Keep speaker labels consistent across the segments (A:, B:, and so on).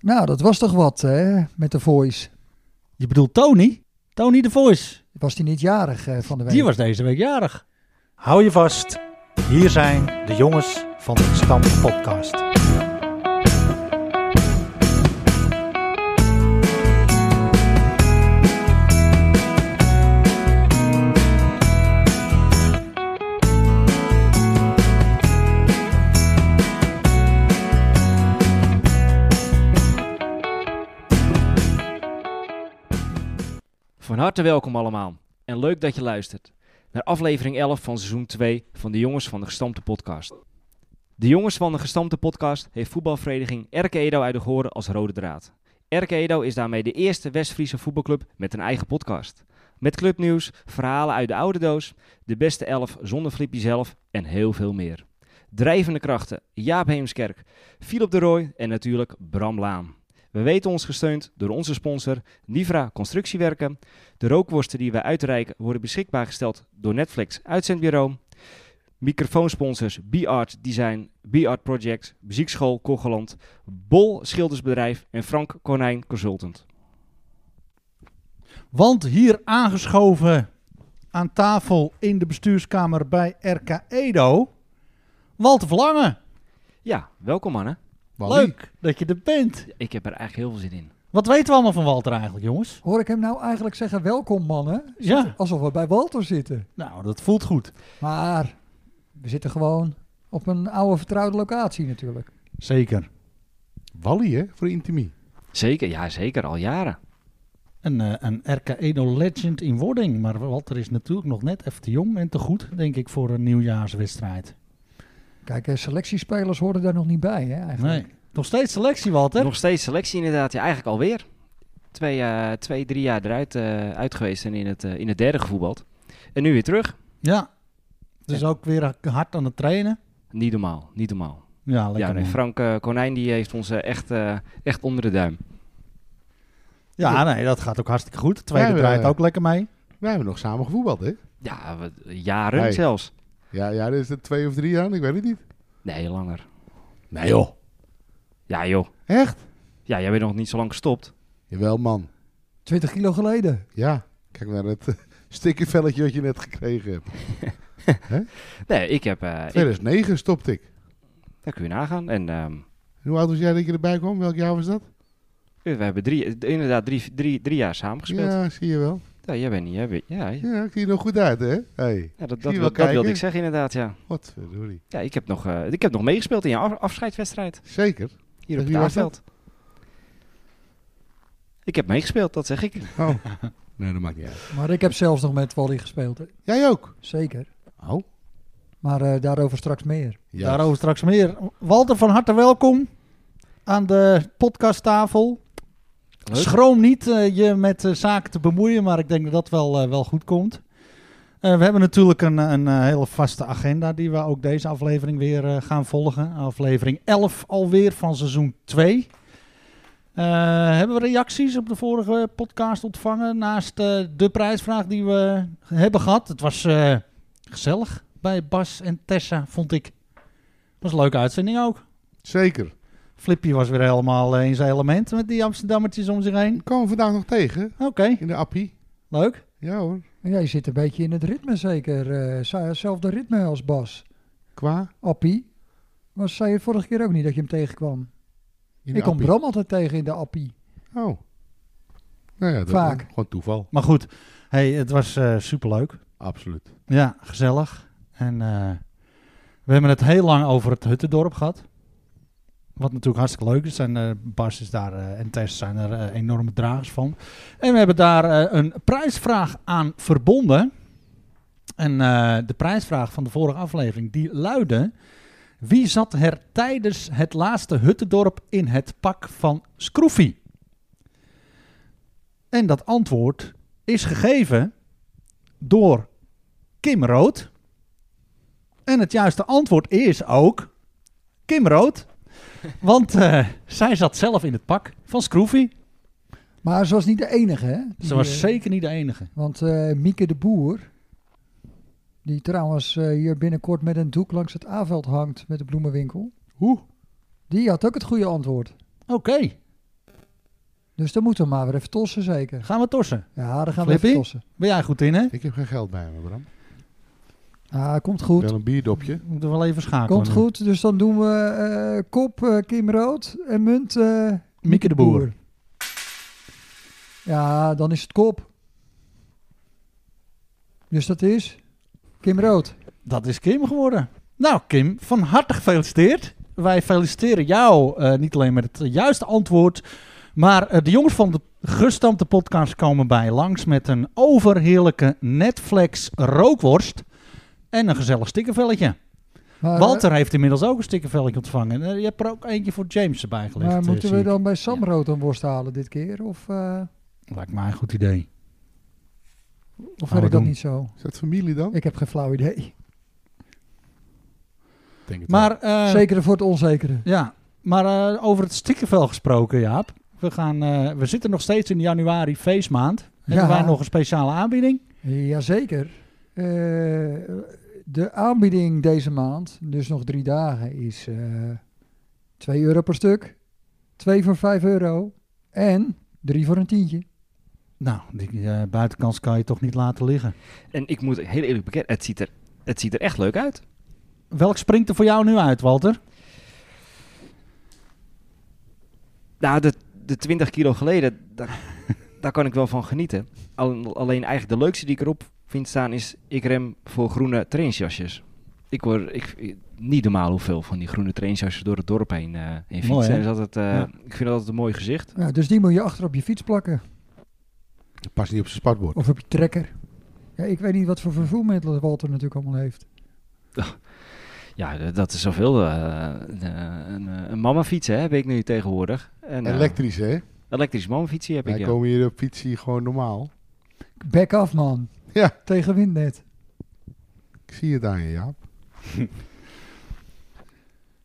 A: Nou, dat was toch wat, hè, met de Voice.
B: Je bedoelt Tony? Tony de Voice.
A: Was die niet jarig eh, van de week?
B: Die was deze week jarig.
C: Hou je vast. Hier zijn de jongens van de Stam Podcast.
D: Van harte welkom allemaal en leuk dat je luistert naar aflevering 11 van seizoen 2 van de Jongens van de Gestampte Podcast. De Jongens van de Gestampte Podcast heeft voetbalvereniging Erke Edo uit de Goren als rode draad. Erke Edo is daarmee de eerste West-Friese voetbalclub met een eigen podcast. Met clubnieuws, verhalen uit de oude doos, de beste elf zonder Flippy zelf en heel veel meer. Drijvende krachten, Jaap Heemskerk, Philip de Rooij en natuurlijk Bram Laan. We weten ons gesteund door onze sponsor Nivra Constructiewerken, de rookworsten die wij uitreiken worden beschikbaar gesteld door Netflix Uitzendbureau. Microfoonsponsors B-Art Design, B-Art Project, Muziekschool Kogeland, Bol Schildersbedrijf en Frank Konijn Consultant.
C: Want hier
E: aangeschoven aan tafel in de bestuurskamer bij RK Edo. Walter Verlangen,
D: Ja, welkom mannen.
E: leuk dat je er bent.
D: Ik heb er eigenlijk heel veel zin in.
E: Wat weten we allemaal van Walter eigenlijk, jongens?
A: Hoor ik hem nou eigenlijk zeggen, welkom mannen,
E: Ja,
A: alsof we bij Walter zitten.
E: nou, dat voelt goed.
A: Maar we zitten gewoon op een oude vertrouwde locatie natuurlijk.
E: Zeker.
F: Wally, hè? Voor Intimie.
D: Zeker, ja zeker, al jaren.
E: Een, eh, een RK Edo legend in wording, maar Walter is natuurlijk nog net even te jong en te goed, denk ik, voor een nieuwjaarswedstrijd.
A: Kijk, eh, selectiespelers horen daar nog niet bij, hè, eigenlijk.
E: Nee, nog steeds selectie, Walter.
D: Nog steeds selectie inderdaad, ja, eigenlijk alweer. Twee, eh, twee drie jaar eruit eh, uit geweest en in het, eh, in het derde gevoetbald. En nu weer terug.
E: Ja, dus ook weer hard aan het trainen.
D: Niet normaal, niet normaal.
E: Ja, lekker.
D: Ja, nee,
E: man.
D: Frank eh, Konijn die heeft ons eh, echt, eh, echt onder de duim.
E: ja nee, dat gaat ook hartstikke goed. De tweede
F: Ja, we-
E: draait ook lekker mee.
F: Wij hebben nog samen gevoetbald, hè?
D: Ja, we- jaren
F: Hey.
D: zelfs.
F: Ja, ja, dat is het twee of drie jaar, ik weet het niet.
D: Nee, langer.
F: Nee joh.
D: Ja, joh.
F: Echt?
D: Ja, jij bent nog niet zo lang gestopt.
F: Jawel, man.
A: 20 kilo geleden.
F: Ja. Kijk naar het eh, stikkervelletje wat je net gekregen hebt.
D: Nee, ik heb... eh, ik,
F: 2009 stopte ik.
D: daar kun je nagaan. En ehm,
F: En hoe oud was jij dat je erbij kwam? Welk jaar was dat?
D: we hebben drie, inderdaad drie, drie, drie jaar samengespeeld. Ja.
F: Ja, zie je wel.
D: jij bent niet... Jij bent, ja, ja,
F: Ja, ik zie er nog goed uit, hè? Hey.
D: dat, dat,
F: wel
D: wil- dat
F: kijken.
D: wilde ik zeggen inderdaad, ja.
F: Wat verdorie.
D: Ja, ik heb nog, eh, ik heb nog meegespeeld in je af- afscheidswedstrijd.
F: Zeker.
D: Hier op
F: wie
D: het
F: was dat?
D: aanveld. Ik heb meegespeeld, dat zeg ik.
F: Oh. nee, dat maakt niet uit.
A: Maar ik heb zelfs nog met Wally gespeeld, hè.
F: Jij ook?
A: zeker.
F: Oh.
A: Maar eh, daarover straks meer.
F: Ja.
E: Daarover straks meer. Walter, van harte welkom aan de podcasttafel. Schroom niet eh, je met eh, zaken te bemoeien, maar ik denk dat dat wel, eh, wel goed komt. Eh, we hebben natuurlijk een, een eh, hele vaste agenda die we ook deze aflevering weer eh, gaan volgen. Aflevering 11 alweer van seizoen 2. Eh, hebben we reacties op de vorige podcast ontvangen naast eh, de prijsvraag die we hebben gehad? Het was eh, gezellig bij Bas en Tessa, vond ik. was een leuke uitzending ook.
F: Zeker.
E: Flippy was weer helemaal eh, in zijn element met die Amsterdammertjes om zich heen.
F: Ik kwam hem vandaag nog tegen.
E: Oké,
F: In de appie.
E: leuk.
F: Ja hoor.
A: Jij zit een beetje in het ritme zeker. eh, hetzelfde ritme als Bas.
F: Qua.
A: Appie, was, zei je het vorige keer ook niet dat je hem tegenkwam?
F: In de
A: Ik kom
F: appie.
A: Bram altijd tegen in de appie.
F: Oh. Nou ja, dat
A: Vaak.
F: Gewoon toeval.
E: Maar goed, hey, het was eh, superleuk.
F: Absoluut.
E: Ja, gezellig. En eh, we hebben het heel lang over het Huttendorp gehad. Wat natuurlijk hartstikke leuk is. En eh, Bas is daar eh, en Tess zijn er eh, enorme dragers van. En we hebben daar eh, een prijsvraag aan verbonden. En eh, de prijsvraag van de vorige aflevering die luidde... Wie zat er tijdens het laatste Huttendorp in het pak van Scroofy? En dat antwoord is gegeven door Kim Rood. En het juiste antwoord is ook Kim Rood. Want eh, zij zat zelf in het pak van Scroofy.
A: Maar ze was niet de enige, hè? Die,
E: Ze was
A: eh,
E: zeker niet de enige.
A: Want eh, Mieke de Boer, die trouwens eh, hier binnenkort met een doek langs het Aveld hangt met de bloemenwinkel.
E: Hoe?
A: Die had ook het goede antwoord.
E: Oké.
A: Dus dan moeten we maar weer even tossen zeker.
E: Gaan we torsen.
A: Ja, dan gaan we
E: Flippy?
A: even tossen.
E: Ben jij goed in, hè?
F: Ik heb geen geld bij me, Bram.
A: Ah, komt goed.
F: Wel een bierdopje.
E: We moeten wel even schakelen.
A: Komt
E: nu.
A: goed. Dus dan doen we eh, kop eh, Kim Rood en munt eh,
E: Mieke de Boer.
A: Ja, dan is het kop. Dus dat is Kim Rood.
E: Dat is Kim geworden. Nou, Kim, van harte gefeliciteerd. Wij feliciteren jou eh, niet alleen met het eh, juiste antwoord, maar eh, de jongens van de gestampte podcast komen bij langs met een overheerlijke Netflix rookworst en een gezellig stickervelletje.
A: Maar, eh,
E: Walter heeft inmiddels ook een stickervelletje ontvangen. Eh, je hebt er ook eentje voor James erbij gelegd.
A: maar
E: eh,
A: moeten
E: zie
A: we
E: ik.
A: dan bij Sam Rood een worst halen dit keer? Of, eh
E: Lijkt mij een goed idee.
A: of
E: Nou, we
A: weet ik dat
E: doen.
A: niet zo?
F: Is dat familie dan?
A: Ik heb geen flauw idee.
F: denk het
E: Maar, eh,
A: Zekere voor het onzekere.
E: Ja, maar eh, over het stikkervel gesproken, Jaap. We, gaan, eh, we zitten nog steeds in januari feestmaand. Hebben
A: Ja.
E: wij nog een speciale aanbieding?
A: Jazeker. Eh, de aanbieding deze maand, dus nog drie dagen, is eh 2 euro per stuk. 2 voor 5 euro. En 3 voor een tientje.
E: Nou, die eh, buitenkans kan je toch niet laten liggen.
D: En ik moet heel eerlijk bekennen, het ziet er, het ziet er echt leuk uit.
E: Welk springt er voor jou nu uit, Walter?
D: Nou, de, de 20 kilo geleden, daar, daar kan ik wel van genieten. Al- alleen eigenlijk de leukste die ik erop vind staan is... ik rem voor groene trainsjasjes. Ik hoor ik, ik- niet normaal hoeveel van die groene trainsjasjes door het dorp heen, eh heen fietsen.
E: Mooi, hè?
D: Dat is altijd, eh,
E: Ja.
D: Ik vind dat altijd een mooi gezicht.
A: Ja, dus die moet je achter op je fiets plakken.
F: Pas niet op zijn spatbord.
A: Of op je trekker. Ja, ik weet niet wat voor vervoermiddelen Walter natuurlijk allemaal heeft.
D: Ja, d- dat is zoveel. eh, een, eh, een, eh, een mamafiets hè, heb ik nu tegenwoordig. En, eh,
F: Elektrisch, hè?
D: elektrisch mamafietsje heb
F: Wij
D: ik, ja.
F: komen hier op fiets hier gewoon normaal.
A: Back af man.
F: Ja.
A: Tegen windnet.
F: Ik zie het aan je, Jaap.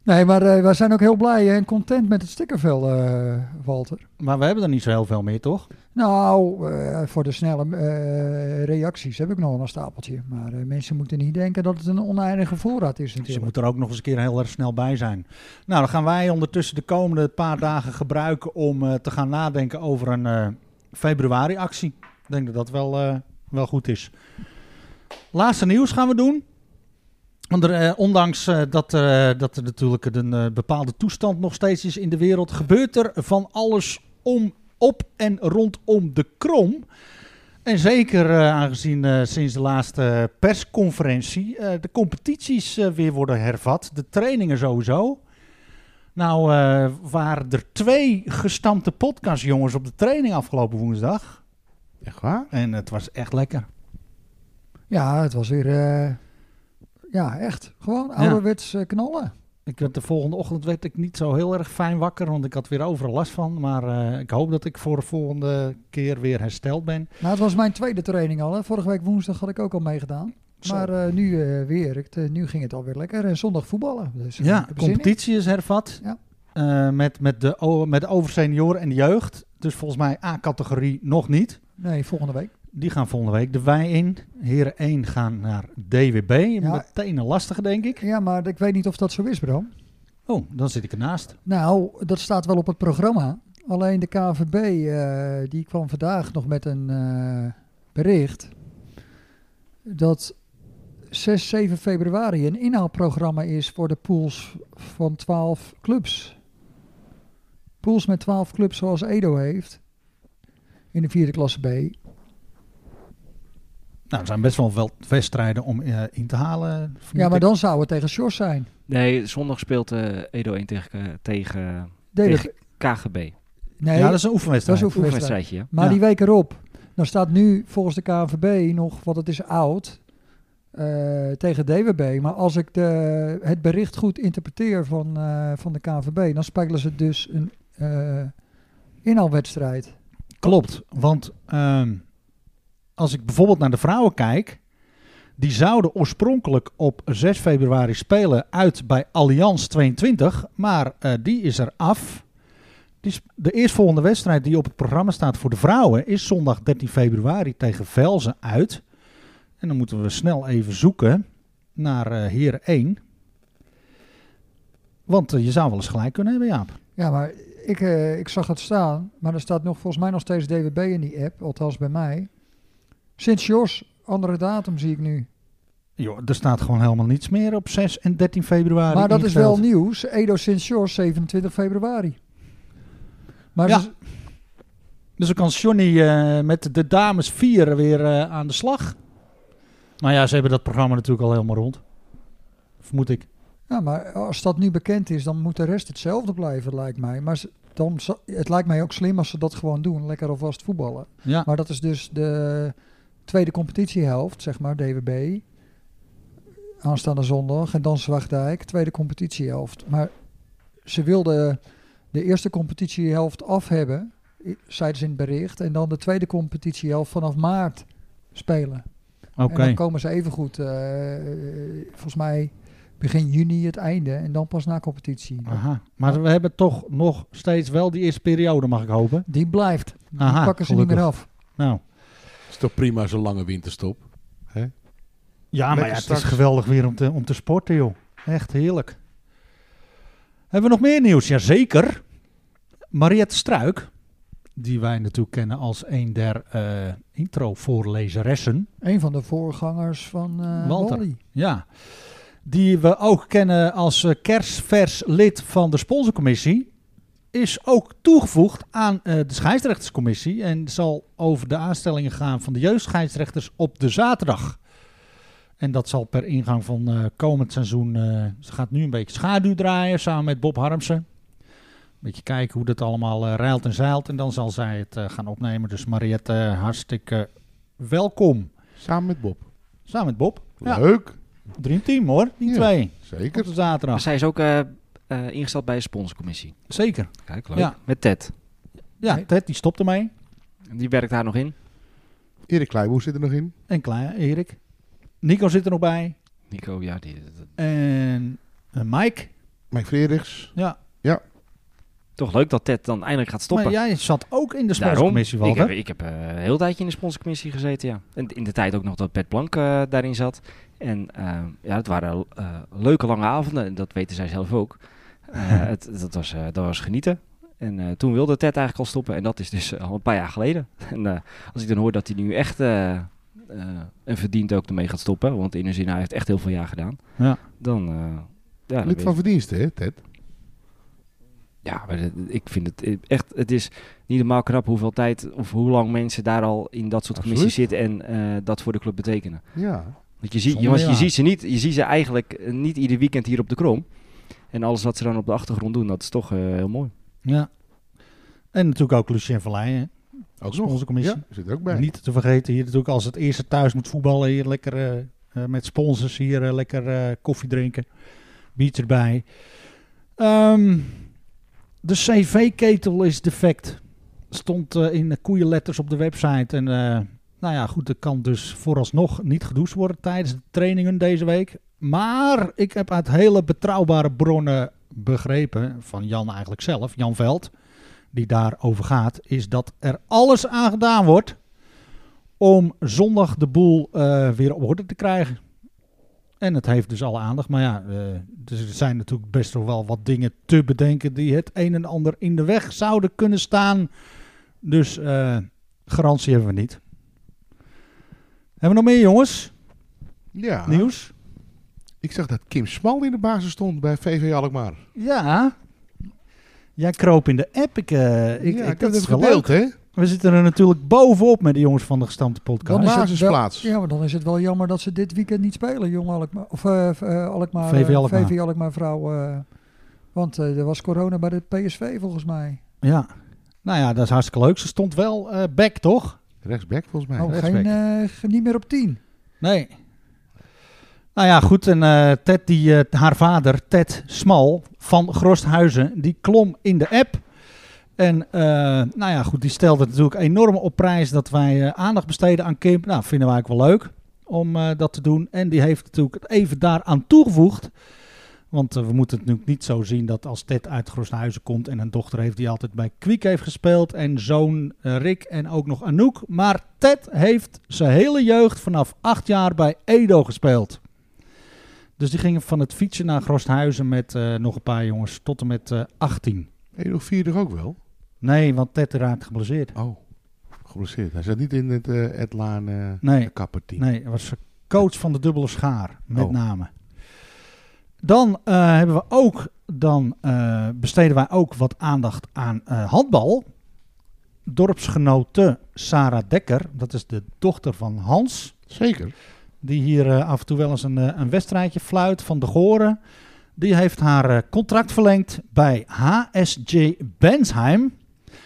A: Nee, maar eh, wij zijn ook heel blij en content met het stickervel, eh, Walter.
E: Maar we hebben er niet zo heel veel meer, toch?
A: Nou, eh, voor de snelle eh, reacties heb ik nog wel een stapeltje. Maar eh, mensen moeten niet denken dat het een oneindige voorraad is
E: Dus je
A: natuurlijk.
E: moet er ook nog eens een keer heel erg snel bij zijn. Nou, dan gaan wij ondertussen de komende paar dagen gebruiken om eh, te gaan nadenken over een eh, februari-actie. Ik denk dat dat wel, eh, wel goed is. Laatste nieuws gaan we doen. Want er, eh, ondanks eh, dat, er, eh, dat er natuurlijk een eh, bepaalde toestand nog steeds is in de wereld, gebeurt er van alles om, op en rondom de krom. En zeker eh, aangezien eh, sinds de laatste persconferentie eh, de competities eh, weer worden hervat, de trainingen sowieso. Nou eh, waren er twee gestampte podcastjongens op de training afgelopen woensdag.
F: Echt waar?
E: En het was echt lekker.
A: Ja, het was weer... eh, ja, echt. Gewoon ouderwets eh, knallen.
E: Ik werd de volgende ochtend werd ik niet zo heel erg fijn wakker, want ik had weer overal last van. Maar eh, ik hoop dat ik voor de volgende keer weer hersteld ben.
A: Nou, het was mijn tweede training al. Hè. Vorige week woensdag had ik ook al meegedaan.
E: Zo.
A: Maar eh, nu eh, weer. Het, eh, nu ging het alweer lekker. En zondag voetballen. Dus, eh, ik
E: Ja,
A: heb er zin in.
E: competitie is hervat.
A: Ja.
E: Eh, met, met, de, o- met de oversenioren en de jeugd. Dus volgens mij A-categorie nog niet.
A: Nee, volgende week.
E: Die gaan volgende week de wij in. Heren 1 gaan naar DWB.
A: Ja.
E: Meteen een lastige, denk ik.
A: Ja, maar ik weet niet of dat zo is, Bram.
E: Oh, dan zit ik ernaast.
A: Nou, dat staat wel op het programma. Alleen de KVB eh, die kwam vandaag nog met een eh, bericht dat 6, 7 februari een inhaalprogramma is voor de pools van 12 clubs. Pools met 12 clubs zoals Edo heeft in de vierde klasse B.
E: Nou, er zijn best wel wel wedstrijden om eh, in te halen. vermoed
A: Ja, maar
E: ik.
A: dan zou het tegen Sjors zijn.
D: Nee, zondag speelt eh, Edo 1 tegen, tegen,
A: Deden-
D: tegen KGB.
A: nee,
E: ja, dat is een
A: dat
E: oefenwedstrijd.
A: is een oefenwedstrijd.
D: Oefenwedstrijdje, ja.
A: Maar
E: Ja.
A: die week erop, dan staat nu volgens de KNVB nog, want het is oud, eh, tegen DWB. Maar als ik de, het bericht goed interpreteer van, eh, van de KNVB, dan spelen ze dus een eh inhaalwedstrijd.
E: Klopt, want ehm, als ik bijvoorbeeld naar de vrouwen kijk, die zouden oorspronkelijk op 6 februari spelen uit bij Allianz 22, maar eh, die is er af. Die is- de eerstvolgende wedstrijd die op het programma staat voor de vrouwen is zondag 13 februari tegen Velzen uit. En dan moeten we snel even zoeken naar eh Heren 1. Want eh, je zou wel eens gelijk kunnen hebben, Jaap.
A: Ja, maar ik, eh, ik zag het staan, maar er staat nog volgens mij nog steeds DWB in die app, althans bij mij. Sint Jos, andere datum zie ik nu.
E: Joh, er staat gewoon helemaal niets meer op 6 en 13 februari.
A: Maar dat is wel
E: ingeveld.
A: nieuws. Edo Sint Jos, 27 februari. Maar
E: Ja.
A: ze-
E: Dus dan kan Johnny eh, met de dames 4 weer eh, aan de slag. Maar ja, ze hebben dat programma natuurlijk al helemaal rond. Vermoed ik.
A: ja, maar als dat nu bekend is, dan moet de rest hetzelfde blijven, lijkt mij. Maar ze- dan, zo- het lijkt mij ook slim als ze dat gewoon doen, lekker alvast voetballen.
E: Ja.
A: Maar dat is dus de tweede competitiehelft, zeg maar, DWB. Aanstaande zondag. En dan Zwaagdijk, tweede competitiehelft. Maar ze wilden de eerste competitiehelft af hebben, i- zeiden ze in het bericht. En dan de tweede competitiehelft vanaf maart spelen.
E: Oké.
A: En dan komen ze evengoed, eh, eh, volgens mij begin juni het einde. En dan pas na competitie.
E: Aha. Maar we hebben toch nog steeds wel die eerste periode, mag ik hopen.
A: Die blijft. Die
E: Aha,
A: pakken ze
E: gelukkig.
A: niet meer af.
E: Nou.
G: is toch prima zo'n lange winterstop.
E: Ja, maar
F: Lekker
E: ja, het is
F: straks.
E: geweldig weer om te, om te sporten, joh. Echt heerlijk. Hebben we nog meer nieuws? Jazeker. Mariette Struik, die wij natuurlijk kennen als een der eh, intro-voorlezeressen.
A: Een van de voorgangers van eh
E: Walter.
A: Wally.
E: Ja. Die we ook kennen als eh, kerstvers lid van de sponsorcommissie. Is ook toegevoegd aan eh, de scheidsrechterscommissie. En zal over de aanstellingen gaan van de jeugdscheidsrechters op de zaterdag. En dat zal per ingang van eh, komend seizoen. eh, ze gaat nu een beetje schaduw draaien samen met Bob Harmsen. Een beetje kijken hoe dat allemaal eh, rijlt en zeilt. En dan zal zij het eh, gaan opnemen. Dus Mariette, eh, hartstikke welkom.
F: Samen met Bob.
E: Samen met Bob. Ja.
F: Leuk.
E: Dream Team hoor, die
F: Ja.
E: twee.
F: Zeker.
E: Op de zaterdag.
D: Zij is ook eh, eh, ingesteld bij een sponsorcommissie.
E: Zeker.
D: Kijk, leuk.
E: Ja.
D: Met Ted.
E: Ja,
A: Nee.
E: Ted die stopt ermee.
D: Die werkt daar nog in.
F: Erik Kleiboer zit er nog in.
E: En klaar, Erik. Nico zit er nog bij.
D: Nico, ja, die, dat-
E: En eh, Mike.
F: Mike Frederiks.
E: Ja.
D: toch leuk dat Ted dan eindelijk gaat stoppen.
E: Maar jij zat ook in de
D: Daarom.
E: sponsorcommissie,
D: Ik heb,
E: Walter.
D: ik heb eh, een heel tijdje in de sponsorcommissie gezeten, ja. En in de tijd ook nog dat Bert Blank eh, daarin zat. En eh, ja, het waren eh, leuke lange avonden. En dat weten zij zelf ook. Eh, het, dat, was, eh, dat was genieten. En eh, toen wilde Ted eigenlijk al stoppen. En dat is dus al een paar jaar geleden. En eh, als ik dan hoor dat hij nu echt... eh, eh, en verdient ook ermee gaat stoppen. Want in hun zin, hij heeft echt heel veel jaar gedaan.
E: Ja.
D: Dan... eh, ja, dan weet
F: Lid van verdiensten, hè, Ted?
D: ja, maar dat- ik vind het eh, echt, het is niet normaal knap hoeveel tijd of hoe lang mensen daar al in dat soort commissies zitten en eh, dat voor de club betekenen.
F: Ja.
D: Want je, ziet,
E: Zonder
D: jongens, je,
E: ja.
D: ziet ze niet, je ziet ze eigenlijk eh, niet ieder weekend hier op de krom. En alles wat ze dan op de achtergrond doen, dat is toch eh, heel mooi.
E: Ja. En natuurlijk ook Lucien Verleijen.
F: Ook nog.
E: Sponsorcommissie.
F: Ja, zit er ook bij.
E: Niet te vergeten hier natuurlijk als het eerste thuis moet voetballen. Hier lekker eh, eh, met sponsors. Hier eh, lekker eh, koffie drinken. Biertje erbij. Ehm, de cv-ketel is defect. Stond eh, in koeienletters op de website. En eh, nou ja, goed, er kan dus vooralsnog niet gedoucht worden tijdens de trainingen deze week. Maar ik heb uit hele betrouwbare bronnen begrepen, van Jan eigenlijk zelf, Jan Veld, die daarover gaat, is dat er alles aan gedaan wordt om zondag de boel eh, weer op orde te krijgen. En het heeft dus alle aandacht. Maar ja, eh, dus er zijn natuurlijk best nog wel wat dingen te bedenken die het een en ander in de weg zouden kunnen staan. Dus eh, garantie hebben we niet. Hebben we nog meer jongens?
F: Ja.
E: Nieuws?
F: Ik zag dat Kim Smal in de basis stond bij VV Alkmaar.
E: Ja. Jij kroop in de app. Ik, eh, ik,
F: ja,
E: ik,
F: heb
E: dat is
F: het
E: wel
F: gedeeld,
E: leuk.
F: hè?
E: We zitten er natuurlijk bovenop met de jongens van de gestampte podcast.
A: Dan is het
F: Basisplaats.
A: Ja, maar dan is het wel jammer dat ze dit weekend niet spelen, jong Alkmaar. Of eh, v- eh, Alkmaar, eh,
E: VV Alkmaar.
A: VV Alkmaar vrouw. eh, want eh, er was corona bij de PSV volgens mij.
E: Ja. Nou ja, dat is hartstikke leuk. Ze stond wel eh back, toch?
F: Rechtsback, volgens mij.
A: oh,
E: dat is
A: geen, eh, ge- niet meer op 10.
E: Nee. Nou ja, goed. En eh, Ted, die, eh, haar vader, Ted Smal van Grosthuizen, die klom in de app. En eh, nou ja, goed, die stelde natuurlijk enorm op prijs dat wij eh, aandacht besteden aan Kim. Nou, vinden wij ook wel leuk om eh, dat te doen. En die heeft natuurlijk even daaraan toegevoegd. Want eh, we moeten het natuurlijk niet zo zien dat als Ted uit Grosthuizen komt en een dochter heeft die altijd bij Kwiek heeft gespeeld. En zoon eh, Rick en ook nog Anouk. Maar Ted heeft zijn hele jeugd vanaf acht jaar bij Edo gespeeld. Dus die gingen van het fietsen naar Grosthuizen met eh, nog een paar jongens tot en met eh 18.
F: Edo Vierig ook wel?
E: Nee, want Ted raakt geblesseerd.
F: Oh, geblesseerd. Hij zat niet in het eh Edlaan eh
E: Nee.
F: kapperteam.
E: Nee, hij was coach van de dubbele schaar, met
F: Oh.
E: name. Dan eh, hebben we ook, dan eh, besteden wij ook wat aandacht aan eh, handbal. Dorpsgenote Sarah Dekker, dat is de dochter van Hans,
F: Zeker.
E: die hier eh, af en toe wel eens een, eh, een wedstrijdje fluit van de Goren. Die heeft haar eh, contract verlengd bij HSJ Bensheim.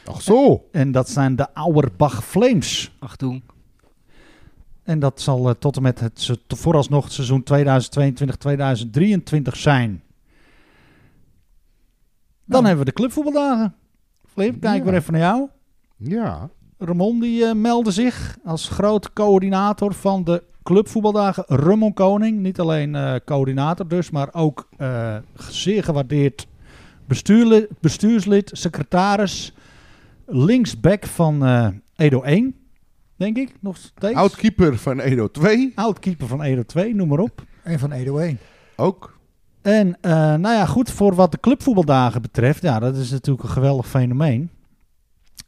F: Ach zo.
E: En dat zijn de Auerbach Flames.
D: Ach toen.
E: En dat zal eh, tot en met het se- vooralsnog het seizoen 2022-2023 zijn. Dan
A: Nou.
E: hebben we de clubvoetbaldagen. Flip, kijk
F: Ja.
E: weer even naar jou.
F: Ja.
E: Ramon die eh, meldde zich als groot coördinator van de clubvoetbaldagen. Ramon Koning, niet alleen eh, coördinator dus, maar ook eh, zeer gewaardeerd bestuurli- bestuurslid, secretaris, linksback van eh, Edo 1, denk ik nog steeds.
F: Outkeeper van Edo 2.
E: Oudkeeper van Edo 2, noem maar op.
A: En van Edo 1.
F: Ook.
E: En eh, nou ja, goed, voor wat de clubvoetbaldagen betreft, ja, dat is natuurlijk een geweldig fenomeen.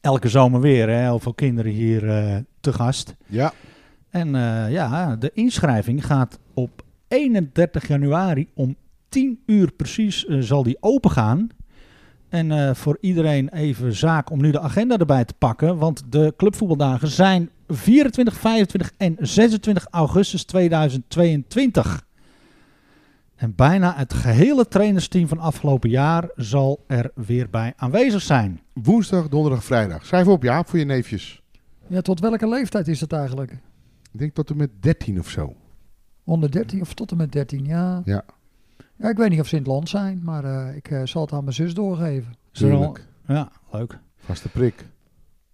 E: Elke zomer weer, hè, heel veel kinderen hier eh, te gast.
F: Ja.
E: En eh, ja, de inschrijving gaat op 31 januari om 10 uur precies eh, zal die opengaan. En eh, voor iedereen even zaak om nu de agenda erbij te pakken. Want de clubvoetbaldagen zijn 24, 25 en 26 augustus 2022. En bijna het gehele trainersteam van afgelopen jaar zal er weer bij aanwezig zijn.
F: Woensdag, donderdag, vrijdag. Schrijf op, ja, voor je neefjes.
A: Ja, tot welke leeftijd is dat eigenlijk?
F: Ik denk tot en met 13 of zo.
A: Onder 13 of tot en met 13, ja.
F: Ja.
A: Ja, ik weet niet of ze in het land zijn, maar eh, ik eh, zal het aan mijn zus doorgeven.
E: Is er al-
F: Tuurlijk.
E: Ja, leuk.
F: Vaste prik.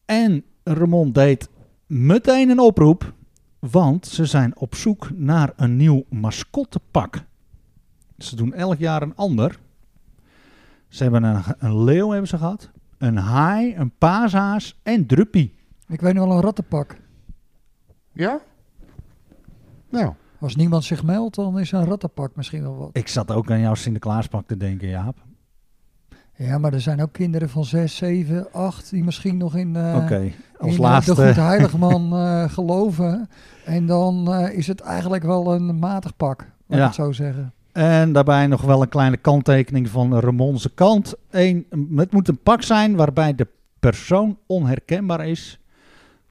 E: En Ramon deed meteen een oproep, want ze zijn op zoek naar een nieuw mascottepak. Ze doen elk jaar een ander. Ze hebben een, een leeuw hebben ze gehad, een haai, een paashaas en druppie.
A: Ik weet nog wel een rattenpak.
F: Ja? Nou,
A: Als niemand zich meldt, dan is een rattenpak misschien wel wat.
E: Ik zat ook aan jouw Sinterklaaspak te denken, Jaap.
A: Ja, maar er zijn ook kinderen van 6, 7, 8 die misschien nog in, eh,
E: Oké,
A: in
E: als
A: eh, de
E: laatste.
A: Goed Heiligman eh, geloven. En dan eh, is het eigenlijk wel een matig pak, laat
E: Ja.
A: ik het zo zeggen.
E: En daarbij nog wel een kleine kanttekening van Ramonse kant. Eén, het moet een pak zijn waarbij de persoon onherkenbaar is.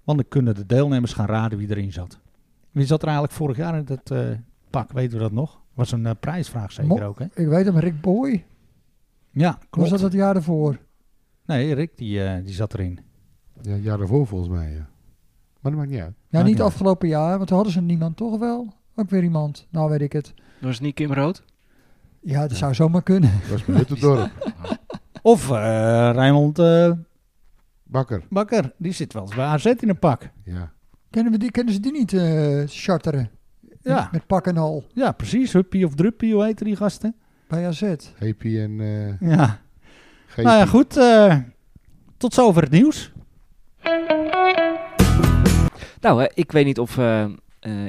E: Want dan kunnen de deelnemers gaan raden wie erin zat. Wie zat er eigenlijk vorig jaar in dat eh, pak? Weten we dat nog? Was een eh, prijsvraag zeker
A: Mo-
E: ook, hè?
A: Ik weet hem, Rick Boy.
E: Ja,
A: Was
E: klopt.
A: dat het jaar ervoor?
E: Nee, Rick die, eh, die zat erin.
F: ja, jaar daarvoor volgens mij, ja. Maar dat maakt niet uit.
A: Ja,
E: Maakt
A: niet
E: niet uit.
A: afgelopen jaar, want toen hadden ze niemand, toch wel? Ook weer iemand, nou weet ik het.
D: Dat is niet Kim Rood.
A: Ja, dat zou zomaar kunnen.
F: Dat was met het dorp.
E: Of eh Raymond eh,
F: Bakker.
E: Bakker, die zit wel eens bij AZ in een pak.
F: Ja.
A: Kennen, we die, kennen ze die niet eh, charteren?
E: Ja,
A: Met, met pak en al,
E: ja precies. Huppie of Druppie, hoe heten die gasten?
A: bij AZ.
F: GP en eh
E: Ja.
F: GP.
E: Nou ja, goed. eh, tot zover het nieuws.
D: Nou, eh, ik weet niet of eh, eh,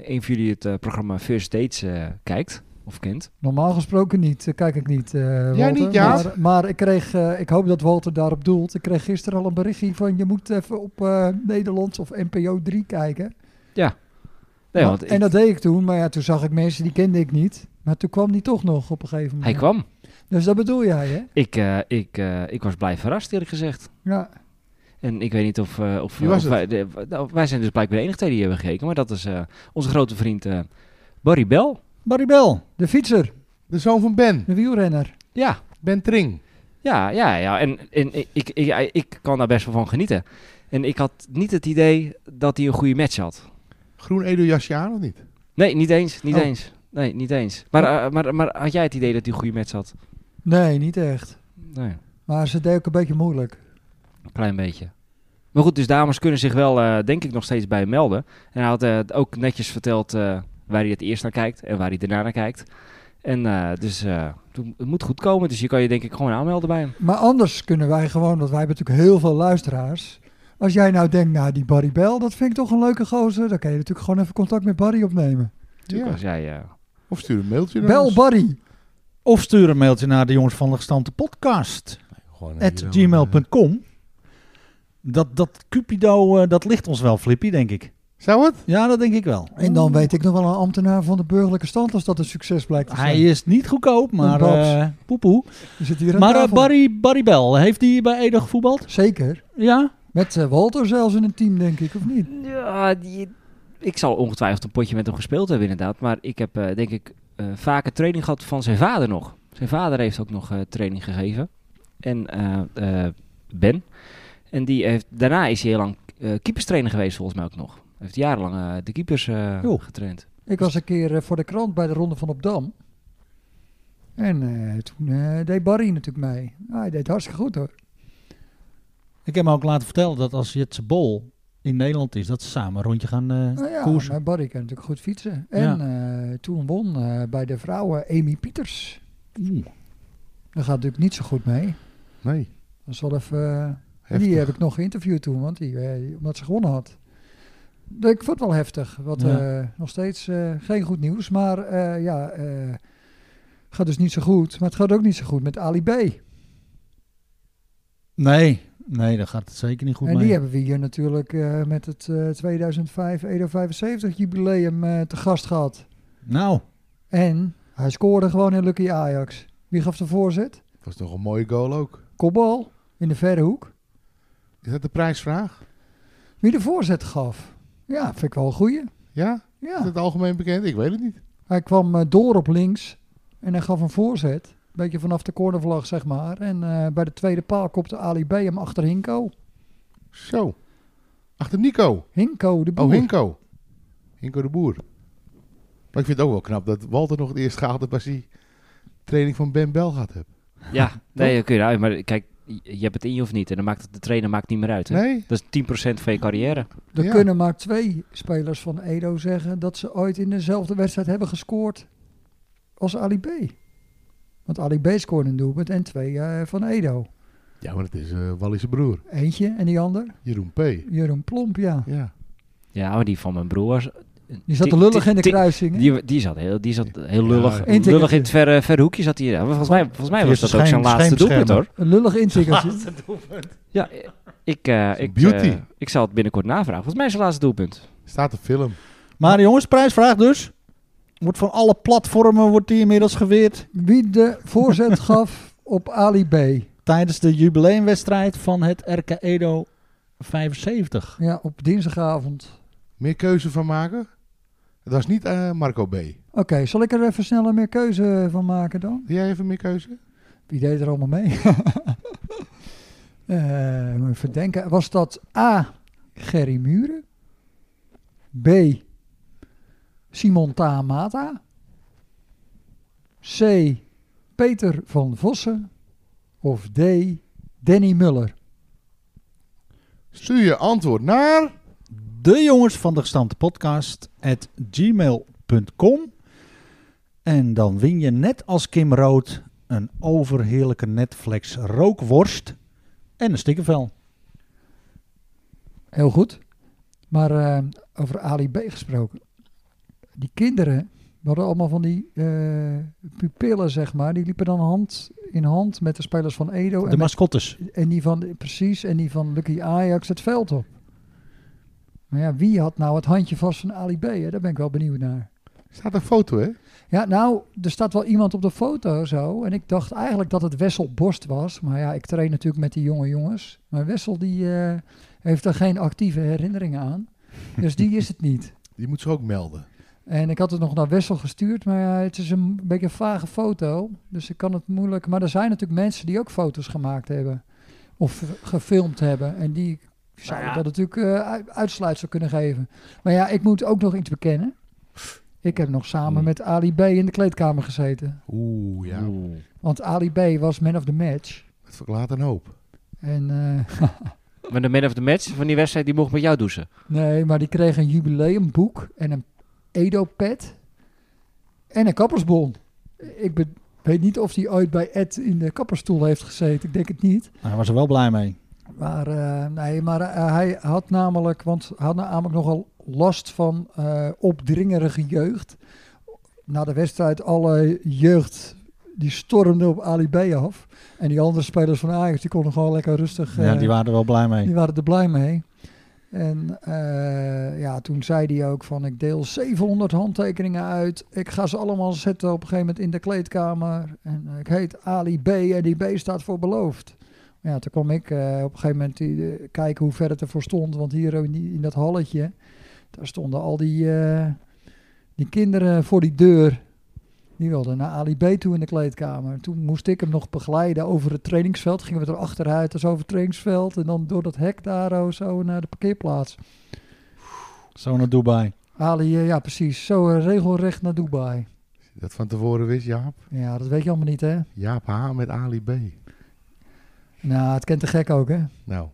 D: een van jullie het eh, programma First Dates eh, kijkt of kent.
A: Normaal gesproken niet, eh, kijk ik niet, eh Walter.
F: niet, Jaap?
A: Maar, maar ik kreeg, eh, ik hoop dat Walter daarop doelt. Ik kreeg gisteren al een berichtje van je moet even op eh Nederlands of NPO 3 kijken.
D: Nee,
A: Maar-
D: want
A: En
D: ik-
A: dat deed ik toen, maar ja, toen zag ik mensen die kende ik niet. Maar toen kwam die toch nog op een gegeven moment.
D: hij kwam.
A: Dus dat bedoel jij, hè?
D: Ik, eh, ik, eh, ik was blij verrast, eerlijk gezegd.
A: Ja.
D: En ik weet niet of, eh, of,
F: Wie was
D: of wij, de- nou, wij zijn dus blijkbaar de enige twee die hebben gekeken. Maar dat is eh, onze grote vriend eh, Barry Bell.
E: Barry Bell.
A: De fietser,
F: De zoon van Ben.
A: de wielrenner.
D: Ja,
F: Ben Tring.
D: ja, ja. ja. En, en ik, ik, ik, ik kan daar best wel van genieten. En ik had niet het idee dat hij een goede match had.
F: Groen edeljasje aan of niet?
D: Nee, niet eens. Niet
F: Oh.
D: eens. Nee, niet eens. Maar, eh, maar, maar had jij het idee dat hij een goede match had?
A: Nee, niet echt.
D: Nee,
A: Maar ze deed ook een beetje moeilijk.
D: een klein beetje. Maar goed, dus dames kunnen zich wel, eh, denk ik, nog steeds bij hem melden. En hij had eh, ook netjes verteld eh, waar hij het eerst naar kijkt en waar hij daarna naar kijkt. En eh, dus eh, toen- het moet goed komen. Dus je kan je denk ik gewoon aanmelden bij hem.
A: Maar anders kunnen wij gewoon, want wij hebben natuurlijk heel veel luisteraars. Als jij nou denkt, nou die Barry Bell, dat vind ik toch een leuke gozer. Dan kan je natuurlijk gewoon even contact met Barry opnemen.
D: Natuurlijk
F: Ja.
D: als jij... eh,
F: Of
E: dus-
F: stuur een mailtje naar
A: Bel
F: ons.
A: Barry.
E: Of stuur een mailtje naar de jongens van de gestante podcast.
G: gewoon. eh,
E: at
G: hier wel, eh,
E: gmail.com. Dat, dat Cupido, eh, dat ligt ons wel, Flippy, denk ik.
F: Zou het?
E: Ja, dat denk ik wel.
A: En dan weet ik nog wel een ambtenaar van de burgerlijke stand als dat een succes blijkt te zijn.
E: Hij is niet goedkoop, maar
A: Babs.
E: eh poepoe.
A: Die zit hier aan
E: Maar eh,
A: tafel.
E: Barry, Barry Bel, heeft hij bij Ede gevoetbald?
A: Zeker.
E: Ja?
A: Met eh, Walter zelfs in een team, denk ik, of niet?
D: Ja, die, ik zal ongetwijfeld een potje met hem gespeeld hebben inderdaad. Maar ik heb eh, denk ik eh, vaker training gehad van zijn vader nog. Zijn vader heeft ook nog eh, training gegeven. En eh, eh, Ben. En die heeft, daarna is hij heel lang eh, keeperstrainer geweest volgens mij ook nog. Hij heeft jarenlang eh, de keepers eh,
E: Joh.
D: getraind.
A: Ik was een keer eh, voor de krant bij de Ronde van Opdam. En eh, toen eh, deed Barry natuurlijk mee. Ah, hij deed hartstikke goed hoor.
E: Ik heb me ook laten vertellen dat als Jetse Bol in Nederland is, dat ze samen een rondje gaan eh,
A: Nou ja,
E: koersen.
A: maar Barry kan natuurlijk goed fietsen. En eh, toen won eh, bij de vrouwen Amy Pieters.
E: Oeh.
A: Daar gaat natuurlijk niet zo goed mee.
F: Nee.
A: Dat is wel even... eh,
F: Heftig.
A: Die heb ik nog geïnterviewd toen, want die, eh, omdat ze gewonnen had. Dus Ik vond het wel heftig. Wat
E: Ja.
A: eh, nog steeds eh, geen goed nieuws. Maar eh, ja, eh gaat dus niet zo goed. Maar het gaat ook niet zo goed met Ali B.
E: Nee, nee, dat gaat het zeker niet goed
A: en
E: mee.
A: die hebben we hier natuurlijk eh, met het eh 2005 Edo 75 jubileum eh, te gast gehad.
E: Nou,
A: En hij scoorde gewoon in Lucky Ajax. Wie gaf de voorzet?
F: Dat was toch een mooie goal ook.
A: Kopbal in de verre hoek.
F: Is dat de prijsvraag?
A: Wie de voorzet gaf? Ja, vind ik wel een goeie.
F: Ja? Is
A: Ja.
F: dat algemeen bekend? Ik weet het niet.
A: Hij kwam eh, door op links en hij gaf een voorzet. Een beetje vanaf de cornervlag, zeg maar. En eh, bij de tweede paal kopte Ali B hem achter Hinko.
F: Zo. Achter Nico.
A: Hinko, de boer.
F: Oh, Hinko. Hinko de Boer. Maar ik vind het ook wel knap dat Walter nog het eerst gehaald heeft als hij training van Ben Bel gehad hebt.
D: Ja, nee, dat kun je eruit. Maar kijk, je je hebt het in je of niet. En dan maakt het, de trainer maakt niet meer uit. Hè?
F: Nee?
D: Dat is 10% van je carrière.
A: Er
F: Ja.
A: kunnen maar twee spelers van Edo zeggen dat ze ooit in dezelfde wedstrijd hebben gescoord als Ali B. Want Ali B scoorde een doelpunt en twee eh, van Edo.
F: Ja, maar het is eh Wallis' broer.
A: Eentje en die ander,
F: Jeroen P.
A: Jeroen Plomp, ja.
F: Ja.
D: Ja, maar die van mijn broer. was- eh,
A: Die zat te
D: Ti-
A: lullig
D: ti-
A: in de
D: ti-
A: kruising. hè?
D: Die, die zat heel, die zat heel lullig,
F: Ja,
A: Intikker.
D: lullig in het verre, verre hoekje zat hij. Ja, maar volgens mij, volgens mij was
E: Eerste
D: dat ook zijn
E: schijn-
D: laatste doelpunt hoor.
A: Een lullig intikkertje.
D: Ja, ik, eh,
F: Zo'n
D: ik,
F: beauty.
D: eh, ik zal het binnenkort navragen. Volgens mij is zijn laatste doelpunt.
F: Staat een film.
E: maar jongens, prijsvraag dus. Wordt van alle platformen wordt die inmiddels geweerd
A: Wie de voorzet gaf op Ali B.
E: tijdens de jubileumwedstrijd van het RK Edo 75.
A: Ja, op dinsdagavond.
F: Meer keuze van maken? Het was niet eh, Marco B.
A: Oké, zal ik er even sneller meer keuze van maken dan?
F: Doe jij even meer keuze?
A: Wie deed er allemaal mee? Eh moet even denken. Was dat A. Gerry Muren? B. Simon Tamata? C. Peter van Vossen? Of D. Danny Muller?
F: Stuur je antwoord naar...
E: De jongens van de gestampte podcast at gmail.com. En dan win je net als Kim Rood een overheerlijke Netflix rookworst en een stikkervel.
A: Heel goed. Maar eh, over Ali B gesproken. Die kinderen, we hadden allemaal van die eh, pupillen, zeg maar. Die liepen dan hand in hand met de spelers van Edo.
E: De
A: En, met-
E: mascottes.
A: en die van, precies, en die van Lucky Ajax het veld op. Maar ja, wie had nou het handje vast van Ali B? Hè? Daar ben ik wel benieuwd naar.
F: Staat een foto, hè?
A: Ja, nou, er staat wel iemand op de foto zo. En ik dacht eigenlijk dat het Wessel Borst was. Maar ja, ik train natuurlijk met die jonge jongens. Maar Wessel die eh, heeft er geen actieve herinneringen aan. Dus die is het niet.
F: Die moet zich ook melden.
A: En ik had het nog naar Wessel gestuurd, maar ja, het is een beetje een vage foto. Dus ik kan het moeilijk. Maar er zijn natuurlijk mensen die ook foto's gemaakt hebben. Of gefilmd hebben. En die zouden dat natuurlijk eh, uit- uitsluitsel kunnen geven. Maar ja, ik moet ook nog iets bekennen. Ik heb nog samen met Ali B in de kleedkamer gezeten.
F: Oeh, ja.
D: Oeh.
A: Want Ali B was man of the match.
F: Het verklaart een hoop.
A: En eh,
D: Maar de man of the match van die wedstrijd, die mocht met jou douchen.
A: nee, maar die kreeg een jubileumboek en een Edo-pet en een kappersbon. Ik be- weet niet of die ooit bij Ed in de kapperstoel heeft gezeten. Ik denk het niet.
E: Hij was er wel blij mee.
A: Maar, eh, nee, maar eh, hij had namelijk, want hij had namelijk nogal last van eh, opdringerige jeugd. Na de wedstrijd alle jeugd die stormde op Ali B af. En die andere spelers van Ajax, die konden gewoon lekker rustig...
E: Ja,
A: eh,
E: die waren er wel blij mee.
A: die waren er blij mee. En eh, ja, toen zei hij ook van ik deel 700 handtekeningen uit. Ik ga ze allemaal zetten op een gegeven moment in de kleedkamer. En eh, ik heet Ali B en die B staat voor beloofd. Maar ja, toen kwam ik eh, op een gegeven moment die, eh, kijken hoe ver het ervoor stond. Want hier in, die- in dat halletje, daar stonden al die, eh, die kinderen voor die deur. Die wilden naar Ali B toe in de kleedkamer. Toen moest ik hem nog begeleiden over het trainingsveld. Gingen we er achteruit, dus over het trainingsveld. En dan door dat hek daar oh, zo naar de parkeerplaats.
E: Zo naar Dubai.
A: Ali, eh, ja precies, zo eh, regelrecht naar Dubai.
F: Dat van tevoren wist Jaap.
A: Ja, dat weet je allemaal niet hè.
F: Jaap H. met Ali B.
A: Nou, het kent de gek ook hè.
F: Nou,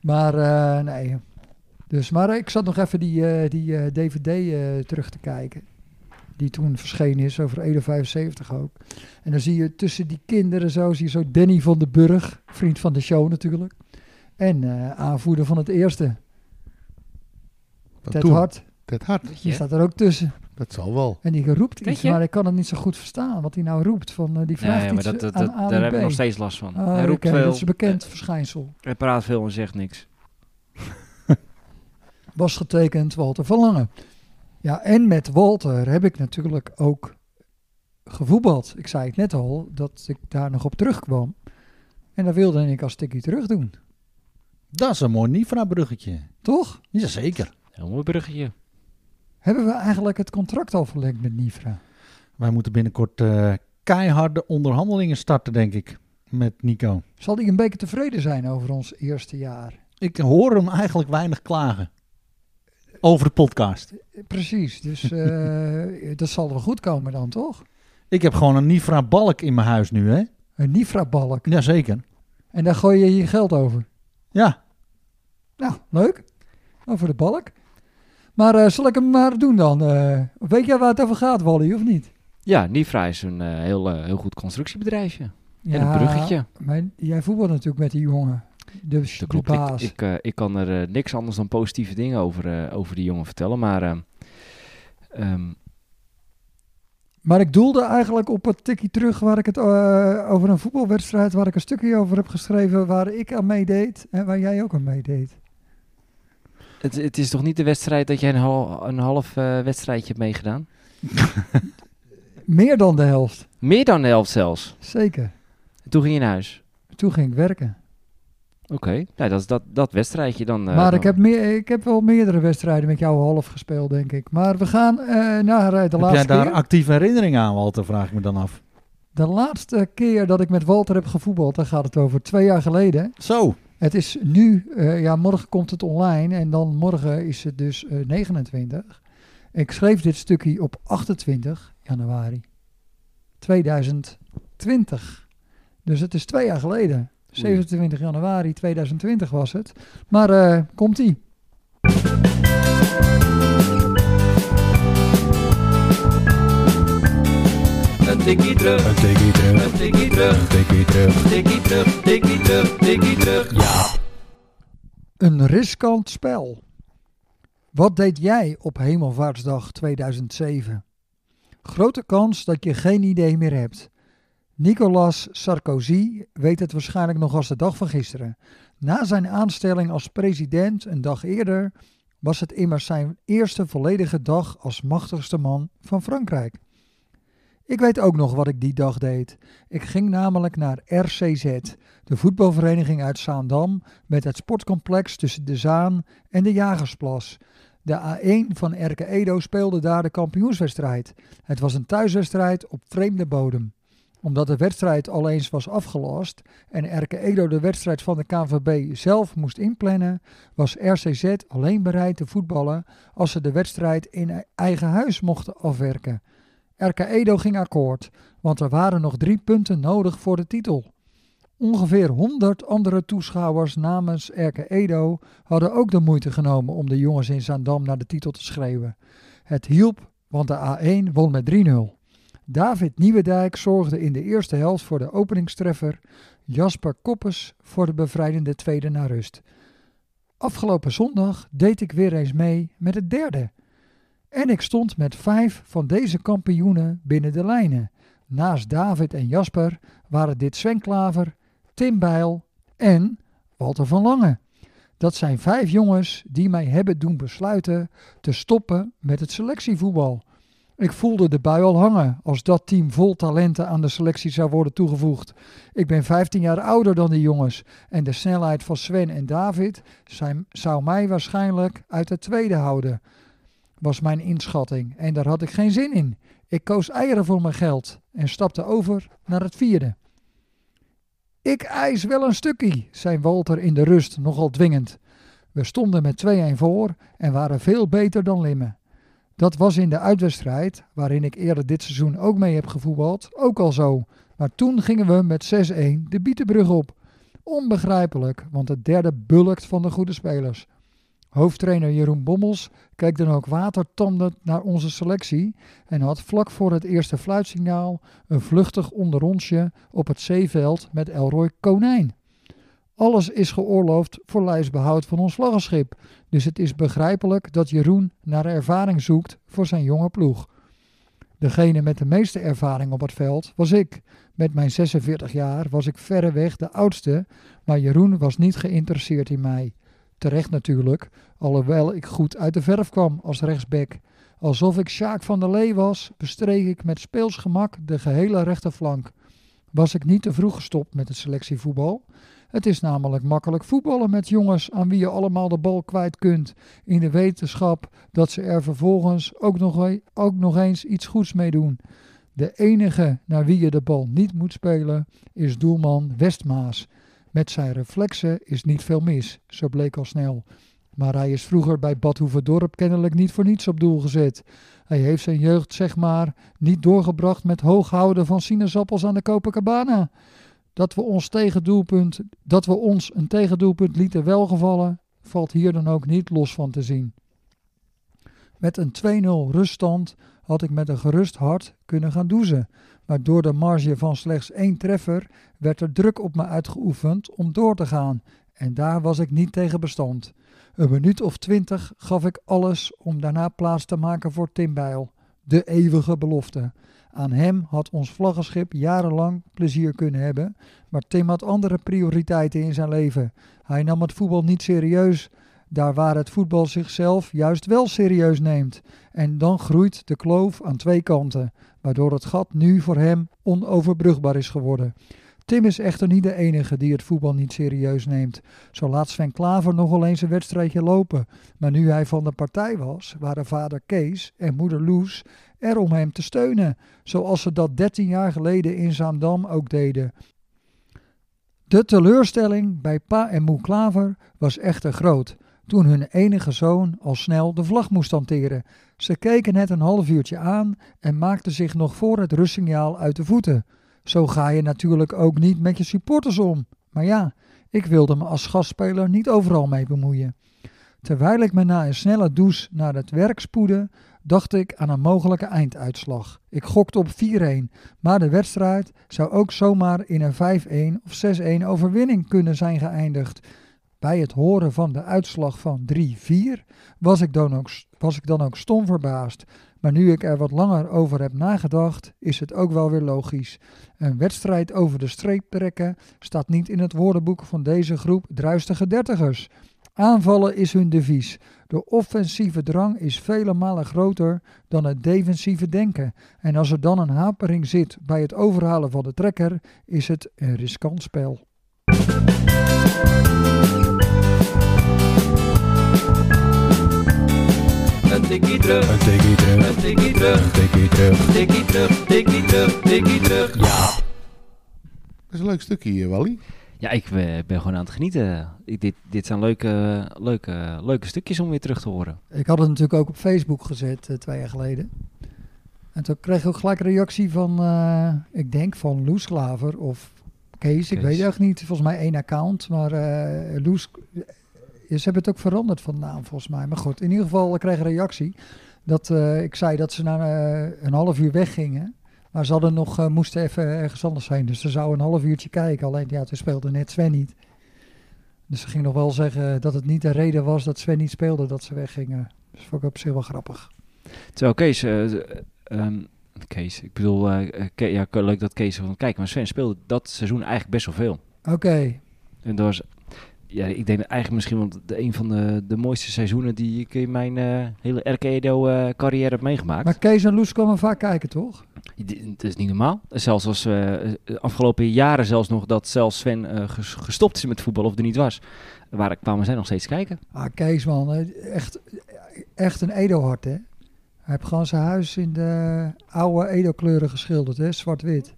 A: Maar eh, nee. Dus, maar eh, ik zat nog even die, eh, die eh, DVD eh, terug te kijken. Die toen verschenen is, over 175 ook. En dan zie je tussen die kinderen zo, zie je zo Danny van den Burg, vriend van de show natuurlijk. En eh, aanvoerder van het eerste,
F: dat
A: Ted
F: toen.
A: Hart.
F: Ted Hart.
A: Die staat er ook tussen.
F: Dat zal wel.
A: En die roept iets,
D: Tetje?
A: maar ik kan het niet zo goed verstaan wat hij nou roept. Van, eh, die vraagt
D: Nee, maar
A: iets
D: dat, dat,
A: aan
D: dat-
A: Ali
D: daar heb
A: B.
D: ik nog steeds last van.
A: Ah,
D: hij roept
A: oké,
D: veel,
A: dat is een bekend verschijnsel.
D: hij praat veel en zegt niks.
A: was getekend Walter van Lange. Ja, en met Walter heb ik natuurlijk ook gevoetbald. Ik zei het net al, dat ik daar nog op terugkwam. En dat wilde ik als tikkie terug doen,
E: Dat is een mooi Nifra-bruggetje.
A: toch?
E: Jazeker.
D: Heel mooi bruggetje.
A: Hebben we eigenlijk het contract al verlengd met Nifra?
E: Wij moeten binnenkort eh, keiharde onderhandelingen starten, denk ik, met Nico.
A: Zal hij een beetje tevreden zijn over ons eerste jaar?
E: Ik hoor hem eigenlijk weinig klagen over de podcast.
A: Eh, Precies, dus eh, dat zal wel goed komen dan, toch?
E: Ik heb gewoon een Nifra-balk in mijn huis nu, hè?
A: Een Nifra-balk.
E: Jazeker.
A: En daar gooi je je geld over.
E: Ja,
A: Nou, leuk. Over de balk. Maar eh, zal ik hem maar doen dan? Eh, weet jij waar het over gaat, Wally, of niet?
D: Ja, Nifra is een eh, heel, eh, heel goed constructiebedrijfje. En een bruggetje.
A: Maar jij voetbalt natuurlijk met die jongen. Dus de
D: Dat klopt. Ik,
A: baas.
D: ik, eh, ik kan er eh, niks anders dan positieve dingen over, eh, over die jongen vertellen. Maar ehm, ehm,
A: Maar ik doelde eigenlijk op het tikkie terug waar ik het eh, over een voetbalwedstrijd, waar ik een stukje over heb geschreven, waar ik aan meedeed en waar jij ook aan meedeed.
D: het, het is toch niet de wedstrijd dat jij een, hal- een half eh, wedstrijdje hebt meegedaan?
A: Meer dan de helft,
D: Meer dan de helft zelfs.
A: zeker.
D: En toen ging je naar huis.
A: Toen ging ik werken.
D: Oké, nou, dat is dat, dat wedstrijdje dan. eh,
A: maar
D: dan-
A: ik heb, meer, ik heb wel meerdere wedstrijden met jou half gespeeld, denk ik. Maar we gaan eh, naar eh, de
E: heb jij
A: laatste
E: daar
A: keer.
E: actieve herinneringen aan, Walter, vraag ik me dan af.
A: De laatste keer dat ik met Walter heb gevoetbald, daar gaat het over twee jaar geleden.
E: Zo,
A: Het is nu, eh, ja, morgen komt het online en dan morgen is het dus eh, 29. Ik schreef dit stukje op 28 januari 2020. Dus het is twee jaar geleden. 27 januari 2020 was het. Maar eh, komt-ie.
C: Een tikkie terug. Een tikkie terug. Een tikkie terug.
A: Een riskant spel. Wat deed jij op Hemelvaartsdag 2007? Grote kans dat je geen idee meer hebt. Nicolas Sarkozy weet het waarschijnlijk nog als de dag van gisteren. Na zijn aanstelling als president een dag eerder was het immers zijn eerste volledige dag als machtigste man van Frankrijk. Ik weet ook nog wat ik die dag deed. Ik ging namelijk naar RCZ, de voetbalvereniging uit Zaandam, met het sportcomplex tussen de Zaan en de Jagersplas. De A1 van Erke Edo speelde daar de kampioenswedstrijd. Het was een thuiswedstrijd op vreemde bodem. Omdat de wedstrijd al eens was afgelast en Erke Edo de wedstrijd van de KNVB zelf moest inplannen, was RCZ alleen bereid te voetballen als ze de wedstrijd in e-, eigen huis mochten afwerken. Erke Edo ging akkoord, want er waren nog drie punten nodig voor de titel. Ongeveer 100 andere toeschouwers namens Erke Edo hadden ook de moeite genomen om de jongens in Zaandam naar de titel te schreeuwen. Het hielp, want de A1 won met 3-0. David Nieuwendijk zorgde in de eerste helft voor de openingstreffer, Jasper Koppes voor de bevrijdende tweede na rust. Afgelopen zondag deed ik weer eens mee met het derde. En ik stond met vijf van deze kampioenen binnen de lijnen. Naast David en Jasper waren dit Sven Klaver, Tim Bijl en Walter van Lange. Dat zijn vijf jongens die mij hebben doen besluiten te stoppen met het selectievoetbal. Ik voelde de bui al hangen als dat team vol talenten aan de selectie zou worden toegevoegd. Ik ben 15 jaar ouder dan die jongens en de snelheid van Sven en David zijn, zou mij waarschijnlijk uit het tweede houden, was mijn inschatting. En daar had ik geen zin in. Ik koos eieren voor mijn geld en stapte over naar het vierde. Ik eis wel een stukje, zei Walter in de rust nogal dwingend. We stonden met 2-1 voor en waren veel beter dan Limmen. Dat was in de uitwedstrijd, waarin ik eerder dit seizoen ook mee heb gevoetbald, ook al zo. Maar toen gingen we met 6-1 de Bietenbrug op. Onbegrijpelijk, want het derde bulkt van de goede spelers. Hoofdtrainer Jeroen Bommels keek dan ook watertandend naar onze selectie en had vlak voor het eerste fluitsignaal een vluchtig onderrondje op het zeeveld met Elroy Konijn. Alles is geoorloofd voor lijfsbehoud van ons vlaggenschip, dus het is begrijpelijk dat Jeroen naar ervaring zoekt voor zijn jonge ploeg. Degene met de meeste ervaring op het veld was ik. Met mijn 46 jaar was ik verreweg de oudste, maar Jeroen was niet geïnteresseerd in mij. Terecht natuurlijk, alhoewel ik goed uit de verf kwam als rechtsback. Alsof ik Sjaak van der Lee was, bestreek ik met speels gemak de gehele rechterflank. Was ik niet te vroeg gestopt met het selectievoetbal? Het is namelijk makkelijk voetballen met jongens aan wie je allemaal de bal kwijt kunt. In de wetenschap dat ze er vervolgens ook nog, e- ook nog eens iets goeds mee doen. De enige naar wie je de bal niet moet spelen is doelman Westmaas. Met zijn reflexen is niet veel mis, zo bleek al snel. Maar hij is vroeger bij Badhoevedorp kennelijk niet voor niets op doel gezet. Hij heeft zijn jeugd, zeg maar, niet doorgebracht met hooghouden van sinaasappels aan de Copacabana. Dat we ons, tegendoelpunt, dat we ons een tegendoelpunt lieten welgevallen, valt hier dan ook niet los van te zien. Met een 2-0 ruststand had ik met een gerust hart kunnen gaan douzen. Maar door de marge van slechts één treffer werd er druk op me uitgeoefend om door te gaan. En daar was ik niet tegen bestand. Een minuut of twintig gaf ik alles om daarna plaats te maken voor Tim Bijl. De eeuwige belofte. Aan hem had ons vlaggenschip jarenlang plezier kunnen hebben. Maar Tim had andere prioriteiten in zijn leven. Hij nam het voetbal niet serieus. Daar waar het voetbal zichzelf juist wel serieus neemt. En dan groeit de kloof aan twee kanten, waardoor het gat nu voor hem onoverbrugbaar is geworden. Tim is echter niet de enige die het voetbal niet serieus neemt. Zo laat Sven Klaver nog wel eens een wedstrijdje lopen. Maar nu hij van de partij was, waren vader Kees en moeder Loes er om hem te steunen. Zoals ze dat 13 jaar geleden in Zaandam ook deden. De teleurstelling bij pa en moe Klaver was echter groot. Toen hun enige zoon al snel de vlag moest hanteren. Ze keken het een half uurtje aan en maakten zich nog voor het rustsignaal uit de voeten. Zo ga je natuurlijk ook niet met je supporters om. Maar ja, ik wilde me als gastspeler niet overal mee bemoeien. Terwijl ik me na een snelle douche naar het werk spoedde, dacht ik aan een mogelijke einduitslag. Ik gokte op 4-1, maar de wedstrijd zou ook zomaar in een 5-1 of 6-1 overwinning kunnen zijn geëindigd. Bij het horen van de uitslag van 3-4 was, ik dan ook- was ik dan ook stom verbaasd. Maar nu ik er wat langer over heb nagedacht, is het ook wel weer logisch. Een wedstrijd over de streep trekken staat niet in het woordenboek van deze groep druistige dertigers. Aanvallen is hun devies. De offensieve drang is vele malen groter dan het defensieve denken. En als er dan een hapering zit bij het overhalen van de trekker, is het een riskant spel.
C: Een tikkie terug. Een tikkie terug. Een tikkie terug.
F: Dat is een leuk stukje hier, Wally.
D: Ja, ik eh, ben gewoon aan het genieten. Ik- dit, dit zijn leuke, leuke, leuke stukjes om weer terug te horen.
A: Ik had het natuurlijk ook op Facebook gezet eh, twee jaar geleden. En toen kreeg ik ook gelijk een reactie van, eh, ik denk van Loes Klaver of Kees, ik
D: Kees.
A: weet echt niet. Volgens mij één account, maar eh Loes, ze hebben het ook veranderd van naam volgens mij. Maar goed, in ieder geval ik kreeg een reactie dat eh, ik zei dat ze na eh, een half uur weggingen. Maar ze hadden nog, eh, moesten even ergens anders zijn. Dus ze zouden een half uurtje kijken. Alleen ja, toen speelde net Sven niet. Dus ze ging nog wel zeggen dat het niet de reden was dat Sven niet speelde dat ze weggingen. Dus vond ik op zich wel grappig.
D: Terwijl Kees, eh, eh, ehm, Kees. Ik bedoel, eh, eh, Ke- ja, ke- leuk dat Kees van kijken. Maar Sven speelde dat seizoen eigenlijk best wel veel.
A: Oké,
D: En dat was, ja, ik denk eigenlijk misschien wel de- een van de, de mooiste seizoenen die ik in mijn eh, hele RKEDO-carrière eh, heb meegemaakt.
A: maar Kees en Loes kwamen vaak kijken, toch?
D: D- Het is niet normaal. Zelfs als eh, eh, de afgelopen jaren zelfs nog dat zelfs Sven eh, ges- gestopt is met voetbal of er niet was. Waar kwamen zij nog steeds kijken.
A: Ah, Kees, man. eh, Echt, echt een Edo-hart, hè? Hij heeft gewoon zijn huis in de oude Edo-kleuren geschilderd, hè? Zwart-wit.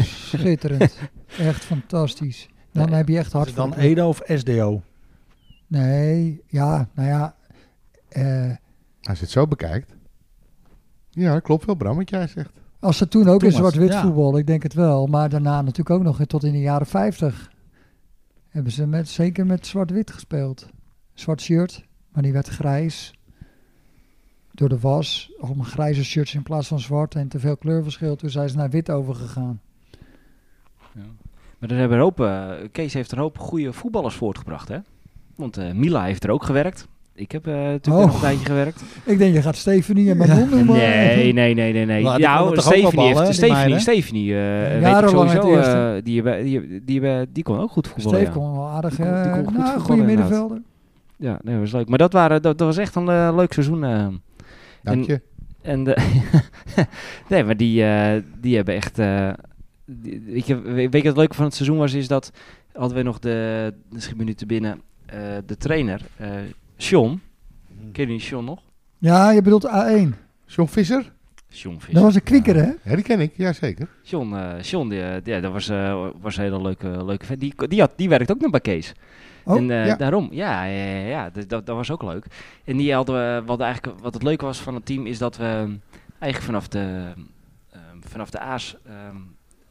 A: Schitterend. Echt fantastisch. Dan
D: Nee,
A: heb je echt hart
E: Is het dan
A: voor-
E: Edo of SDO?
A: Nee, ja, nou ja. eh,
F: Als je het zo bekijkt. Ja, klopt wel, Bram, wat jij zegt.
A: Als ze toen ook in
E: Toen was-
A: zwart-wit
E: ja.
A: voetbal, ik denk het wel. Maar daarna natuurlijk ook nog tot in de jaren 50. Hebben ze met, zeker met zwart-wit gespeeld. Zwart shirt, maar die werd grijs. Door de was. Allemaal grijze shirts in plaats van zwart en te veel kleurverschil. Toen zijn ze naar wit overgegaan.
D: Maar er hebben een hoop, eh, Kees heeft een hoop goede voetballers voortgebracht. Hè? Want eh, Mila heeft er ook gewerkt. Ik heb eh, natuurlijk
A: Oh.
D: nog een tijdje gewerkt.
A: Ik denk, je gaat Stefanie en Manon noemen.
D: Nee, nee, nee, nee. nee.
E: Maar die
D: Nou,
E: konden toch ook wel
D: Stefanie, heeft,
E: ballen, die
D: Stefanie,
E: meiden?
D: Stefanie eh, weet ik
A: Jarenlang
D: sowieso.
A: het
D: eh,
A: eerste.
D: die, hebben- die, hebben- die, hebben- die kon ook goed voetballen.
A: Steef
D: ja.
A: kon wel aardig.
D: Die kon- die
A: eh,
D: kon goed
A: nou, goede
D: voetballen inderdaad.
A: middenvelder.
D: Ja, nee, dat was leuk. Maar dat, waren, dat, dat was echt een eh, leuk seizoen. eh.
F: Dank
D: En-
F: je.
D: En de nee, maar die, eh, die hebben echt. eh, die- weet, je, weet je wat het leuke van het seizoen was? Is dat hadden we nog de. Misschien minuten binnen. eh, de trainer, eh Sean.
E: Hmm.
D: Ken je die Sean nog?
A: Ja, je bedoelt A1.
F: John Visser?
D: Sean Visser.
A: Dat was een kwikker, hè?
F: Ja, die ken ik, jazeker.
D: John, eh, John die, eh, ja, dat was, eh, was een hele leuke, leuke vent. Die, die, had, die werkt ook nog bij Kees.
A: Oh,
D: en eh,
F: ja.
D: daarom, ja, ja, ja, ja, dus dat, dat was ook leuk. En die hadden we, wat, eigenlijk, wat het leuke was van het team, is dat we eigenlijk vanaf de, ehm, vanaf de A's ehm,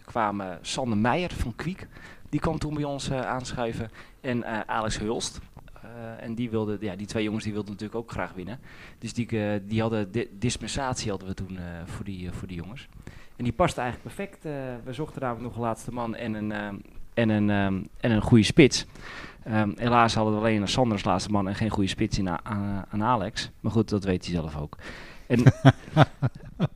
D: kwamen Sander Meijer van Kwiek. Die kwam toen bij ons eh, aanschuiven. En eh, Alex Hulst. Eh, en die, wilde, ja, die twee jongens die wilden natuurlijk ook graag winnen. Dus die, eh, die hadden di- dispensatie hadden we toen eh, voor, die, eh, voor die jongens. En die paste eigenlijk perfect. eh, we zochten namelijk nog een laatste man en een, ehm, en een, ehm, en een goede spits. Ehm, helaas hadden we alleen een Sander als laatste man en geen goede spits in a- aan, aan Alex. Maar goed, dat weet hij zelf ook. En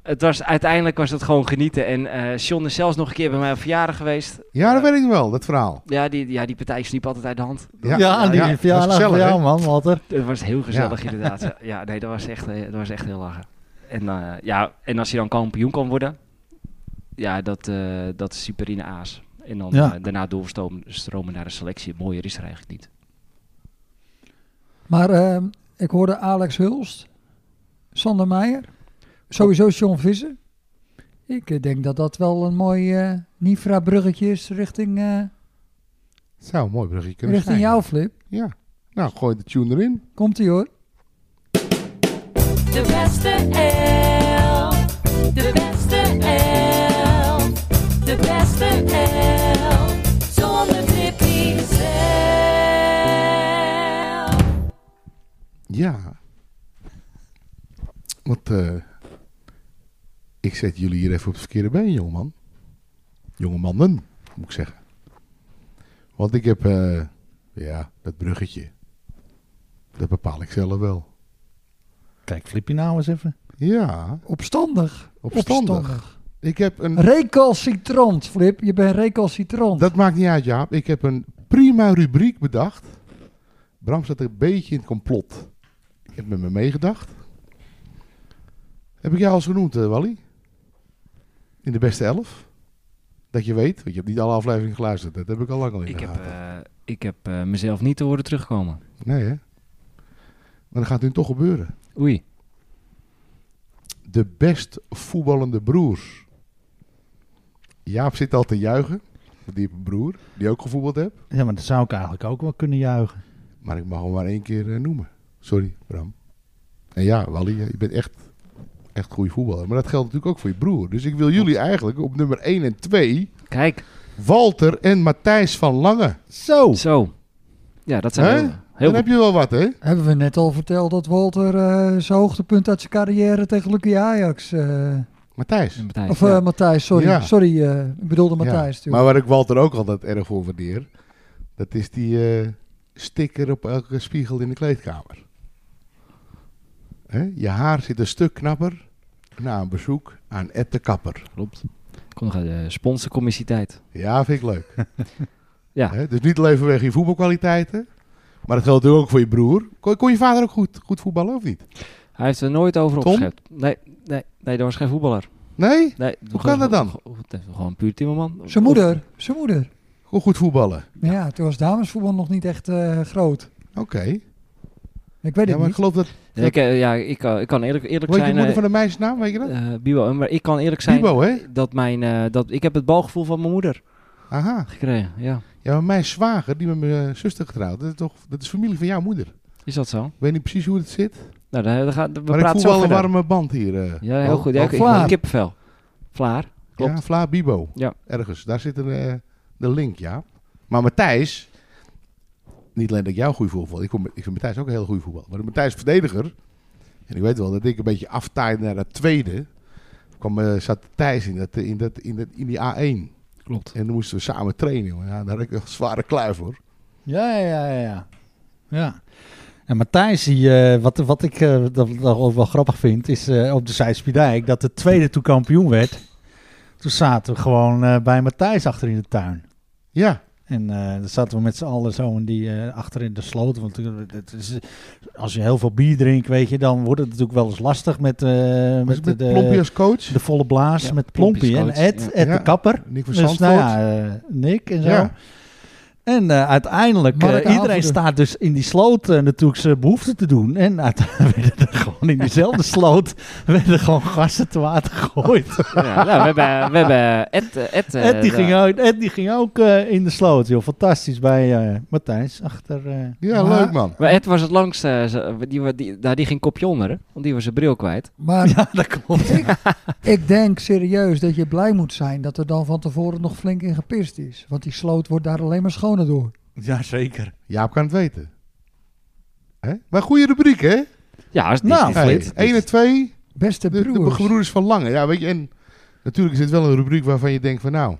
D: het was, uiteindelijk was dat gewoon genieten. En eh John is zelfs nog een keer bij mij op verjaardag geweest.
F: Ja, dat
D: Ja.
F: weet ik wel, dat verhaal.
D: Ja, die, ja, die partij sliep altijd uit de hand.
E: Ja,
F: ja,
E: die
F: dat was
E: verjaardag
F: gezellig,
E: van
F: hè?
E: jou, man, Walter.
D: Het was heel gezellig inderdaad. Ja. Ja, nee, dat was echt, eh, dat was echt heel lachen. En, eh, ja, en als je dan kampioen kan worden, ja, dat, eh, dat is superine aas. En dan
E: Ja.
D: eh, daarna doorstromen stromen naar de selectie. Mooier is er eigenlijk niet.
A: Maar ehm, ik hoorde Alex Hulst, Sander Meijer, sowieso John Visser. Ik eh, denk dat dat wel een mooi eh Nifra-bruggetje is richting, eh,
F: Het zou een mooi bruggetje kunnen
A: richting
F: zijn.
A: jouw flip.
F: Ja. Nou, gooi de tune erin.
A: Komt-ie hoor.
H: De beste elf. De beste elf. De beste elf. Zonder Tippy zelf.
F: Ja. Want eh, ik zet jullie hier even op het verkeerde been, jongeman. Jongemannen, moet ik zeggen. Want ik heb, eh, ja, dat bruggetje. Dat bepaal ik zelf wel.
E: Kijk, flip je nou eens even.
F: Ja,
A: Opstandig.
F: opstandig. Ik heb een
A: Recalcitrant, Flip. Je bent recalcitrant.
F: Dat maakt niet uit, Jaap. Ik heb een prima rubriek bedacht. Bram zat een beetje in het complot. Ik heb met me meegedacht. Heb ik jou al eens genoemd, eh, Wally? In de beste elf? Dat je weet, want je hebt niet alle afleveringen geluisterd. Dat heb ik al lang al in
D: Ik
F: de
D: heb, eh,
F: gaten.
D: ik heb eh, mezelf niet te horen terugkomen.
F: Nee, hè? Maar dat gaat nu toch gebeuren.
D: Oei.
F: De best voetballende broers. Jaap zit al te juichen. want Die heeft een broer, die ook gevoetbald heeft.
E: Ja, maar dat zou ik eigenlijk ook wel kunnen juichen.
F: Maar ik mag hem maar één keer eh, noemen. Sorry, Bram. En ja, Wally, eh, je bent echt, echt goede voetballer. Maar dat geldt natuurlijk ook voor je broer. Dus ik wil jullie eigenlijk op nummer 1 en 2...
D: Kijk,
F: Walter en Matthijs van Lange.
E: Zo!
D: zo. Ja, dat zijn
F: Hè?
D: heel, heel
F: Dan heb je wel wat, hè?
A: Hebben we net al verteld dat Walter eh, zijn hoogtepunt uit zijn carrière tegen Lucky Ajax... eh,
F: Matthijs.
D: Matthijs,
A: of
D: ja.
A: eh, Matthijs, sorry.
F: Ja.
A: Sorry, eh, ik bedoelde Matthijs
F: Ja.
A: natuurlijk.
F: Maar waar ik Walter ook altijd erg voor waardeer... dat is die eh, sticker op elke spiegel in de kleedkamer. Hè? Je haar zit een stuk knapper. na een bezoek aan Ed de Kapper.
D: Klopt. Komt nog eh, de sponsorcommissie tijd.
F: Ja, vind ik leuk.
D: Ja.
F: Hè, dus niet alleen vanwege je voetbalkwaliteiten, maar dat geldt natuurlijk ook voor je broer. Kon, kon je vader ook goed, goed voetballen of niet?
D: Hij heeft er nooit over
F: Tom?
D: opgeschept. Nee, nee, nee, dat was geen voetballer.
F: Nee?
D: Nee, Hoe
F: kan dat dan?
D: Gewoon puur timmerman.
A: Zijn moeder, zijn moeder.
F: Gewoon goed voetballen.
A: Maar ja, toen was damesvoetbal nog niet echt eh, groot.
F: Oké.
A: Ik weet
F: Ja,
A: het
F: maar ik
A: niet.
F: geloof dat...
D: Ja, ik, eh, ja, ik, eh, ik kan eerlijk, eerlijk
F: Weet je de
D: zijn...
F: moeder
D: eh,
F: van de meisjesnaam, weet je dat?
D: eh, Bibo, maar ik kan eerlijk zijn
F: Bibo, hè?
D: dat mijn... eh, dat, ik heb het balgevoel van mijn moeder
F: Aha.
D: gekregen, ja.
F: Ja, maar mijn zwager, die met mijn eh, zuster getrouwd, dat is toch dat is familie van jouw moeder.
D: Is dat zo?
F: Ik weet niet precies hoe het zit,
D: Nou, daar, daar gaat, we
F: maar ik
D: praten
F: voel
D: zo
F: wel een
D: verder.
F: warme band hier. eh.
D: Ja, heel
F: Wel-
D: goed. Ja,
F: wel
D: ik, ik
A: Vlaar.
D: wil kippenvel. Vlaar. klopt.
F: Ja, Vla Bibo.
D: Ja.
F: Ergens, daar zit een, eh, de link, ja. Maar Matthijs, niet alleen dat ik jou goed voetbal, ik, vond- ik vind Matthijs ook een heel goed voetbal. Maar Matthijs is verdediger, en ik weet wel dat ik een beetje aftaaide naar dat tweede. Kwam, eh, zat Thijs in, dat, in, dat, in, dat, in die A1.
D: Klopt.
F: En dan moesten we samen trainen. jongen. Ja, daar had ik een zware kluif hoor.
E: Ja, ja, ja, ja. Ja. En Matthijs, die, eh, wat, wat ik eh, dat, dat ook wel grappig vind, is eh, op de Zijspiedijk dat de tweede toen kampioen werd. Toen zaten we gewoon eh, bij Matthijs achter in de tuin.
F: Ja,
E: En eh dan zaten we met z'n allen zo in die, eh, achter in de sloot. Want eh, het is, als je heel veel bier drinkt, weet je, dan wordt het natuurlijk wel eens lastig met, eh,
F: was
E: met,
F: het met
E: de,
F: Plompie als coach.
E: de volle blaas.
D: Ja,
E: met Plompie en
D: Plompie's coach,
E: Ed,
D: ja.
E: Ed
F: Ja.
E: de kapper.
F: Nick van
E: Dus nou
F: Zandvoort.
E: ja, eh, Nick en zo.
F: Ja.
E: En eh, uiteindelijk, eh,
A: Mark
E: iedereen
A: Aanvoerder.
E: staat dus in die sloot eh, natuurlijk zijn behoefte te doen. En uiteindelijk werden er gewoon in diezelfde sloot werden gewoon gasten te water
F: Oh,
E: gegooid.
D: Ja, nou, we hebben, we hebben Ed, eh, Ed, eh,
E: Ed, die
D: daar.
E: ging ook, Ed die ging ook eh, in de sloot, joh. Fantastisch bij eh, Matthijs achter... eh,
F: Ja,
A: Maar-
F: leuk man.
D: Maar Ed was het langst, eh, ze- die, wa- die, daar, die ging kopje onder, hè? want die was zijn bril kwijt.
A: Maar
E: Ja, dat klopt.
A: ik denk serieus dat je blij moet zijn dat er dan van tevoren nog flink in gepist is. Want die sloot wordt daar alleen maar schoner door.
E: Ja, zeker.
F: Jaap kan het weten. Hè? Maar goede rubriek, hè?
D: Ja, is niet
E: Nou,
D: niet
E: hey,
D: flint.
F: 1 en 2,
A: Beste
F: de, de
A: broers.
F: gebroeders van Lange. Ja, weet je, en natuurlijk is dit wel een rubriek waarvan je denkt van nou,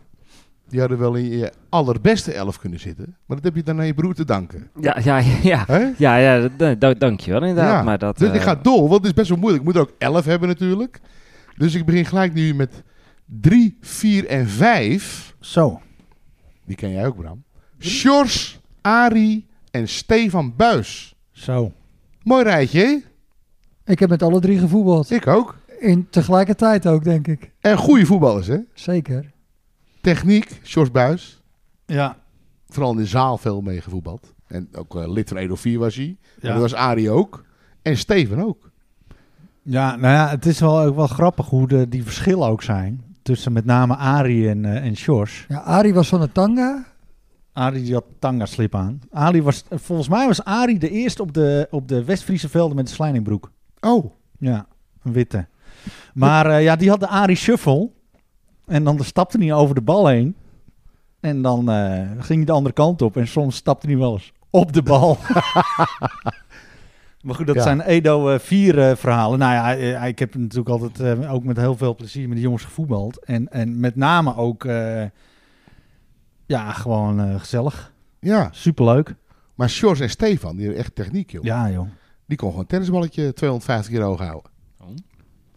F: die hadden wel in je allerbeste elf kunnen zitten. Maar dat heb je dan aan je broer te danken.
D: Ja, ja, ja.
F: Hè?
D: Ja, ja, d- d- dankjewel inderdaad.
F: Ja,
D: Maar dat,
F: Dus ik
D: eh,
F: ga door, want het is best wel moeilijk. Ik moet er ook 11 hebben natuurlijk. Dus ik begin gelijk nu met 3, 4 en 5.
E: Zo.
F: Die ken jij ook, Bram. Sjors, Ari en Stefan Buis.
E: Zo.
F: Mooi rijtje, hè?
A: Ik heb met alle drie gevoetbald.
F: Ik ook.
A: In tegelijkertijd ook, denk ik.
F: En goede voetballers, hè?
A: Zeker.
F: Techniek, Sjors Buis.
E: Ja.
F: Vooral in de zaal veel mee gevoetbald. En ook eh, lid van 104 was hij. En
E: Ja.
F: dat was Arie ook. En Steven ook.
E: Ja, nou ja, het is wel, ook wel grappig hoe de, die verschillen ook zijn. Tussen met name Arie en, eh en Sjors.
A: Ja, Arie was van de tanga.
E: Arie die had tanga slip aan. Arie was, eh, volgens mij was Arie de eerste op de, op de West-Friese velden met de slijningbroek.
F: Oh,
E: Ja, een witte. Maar eh, ja, die had de Arie shuffle. En dan stapte hij over de bal heen. En dan eh, ging hij de andere kant op. En soms stapte hij wel eens op de bal. maar goed, dat
F: Ja.
E: zijn Edo 4 verhalen. Nou ja, eh, ik heb natuurlijk altijd eh, ook met heel veel plezier met die jongens gevoetbald. En, en met name ook, eh, ja, gewoon eh, gezellig.
F: ja.
E: Superleuk.
F: Maar Sjors en Stefan, die hadden echt techniek, joh.
E: Ja, joh.
F: Die kon gewoon een tennisballetje 250 keer hoog houden.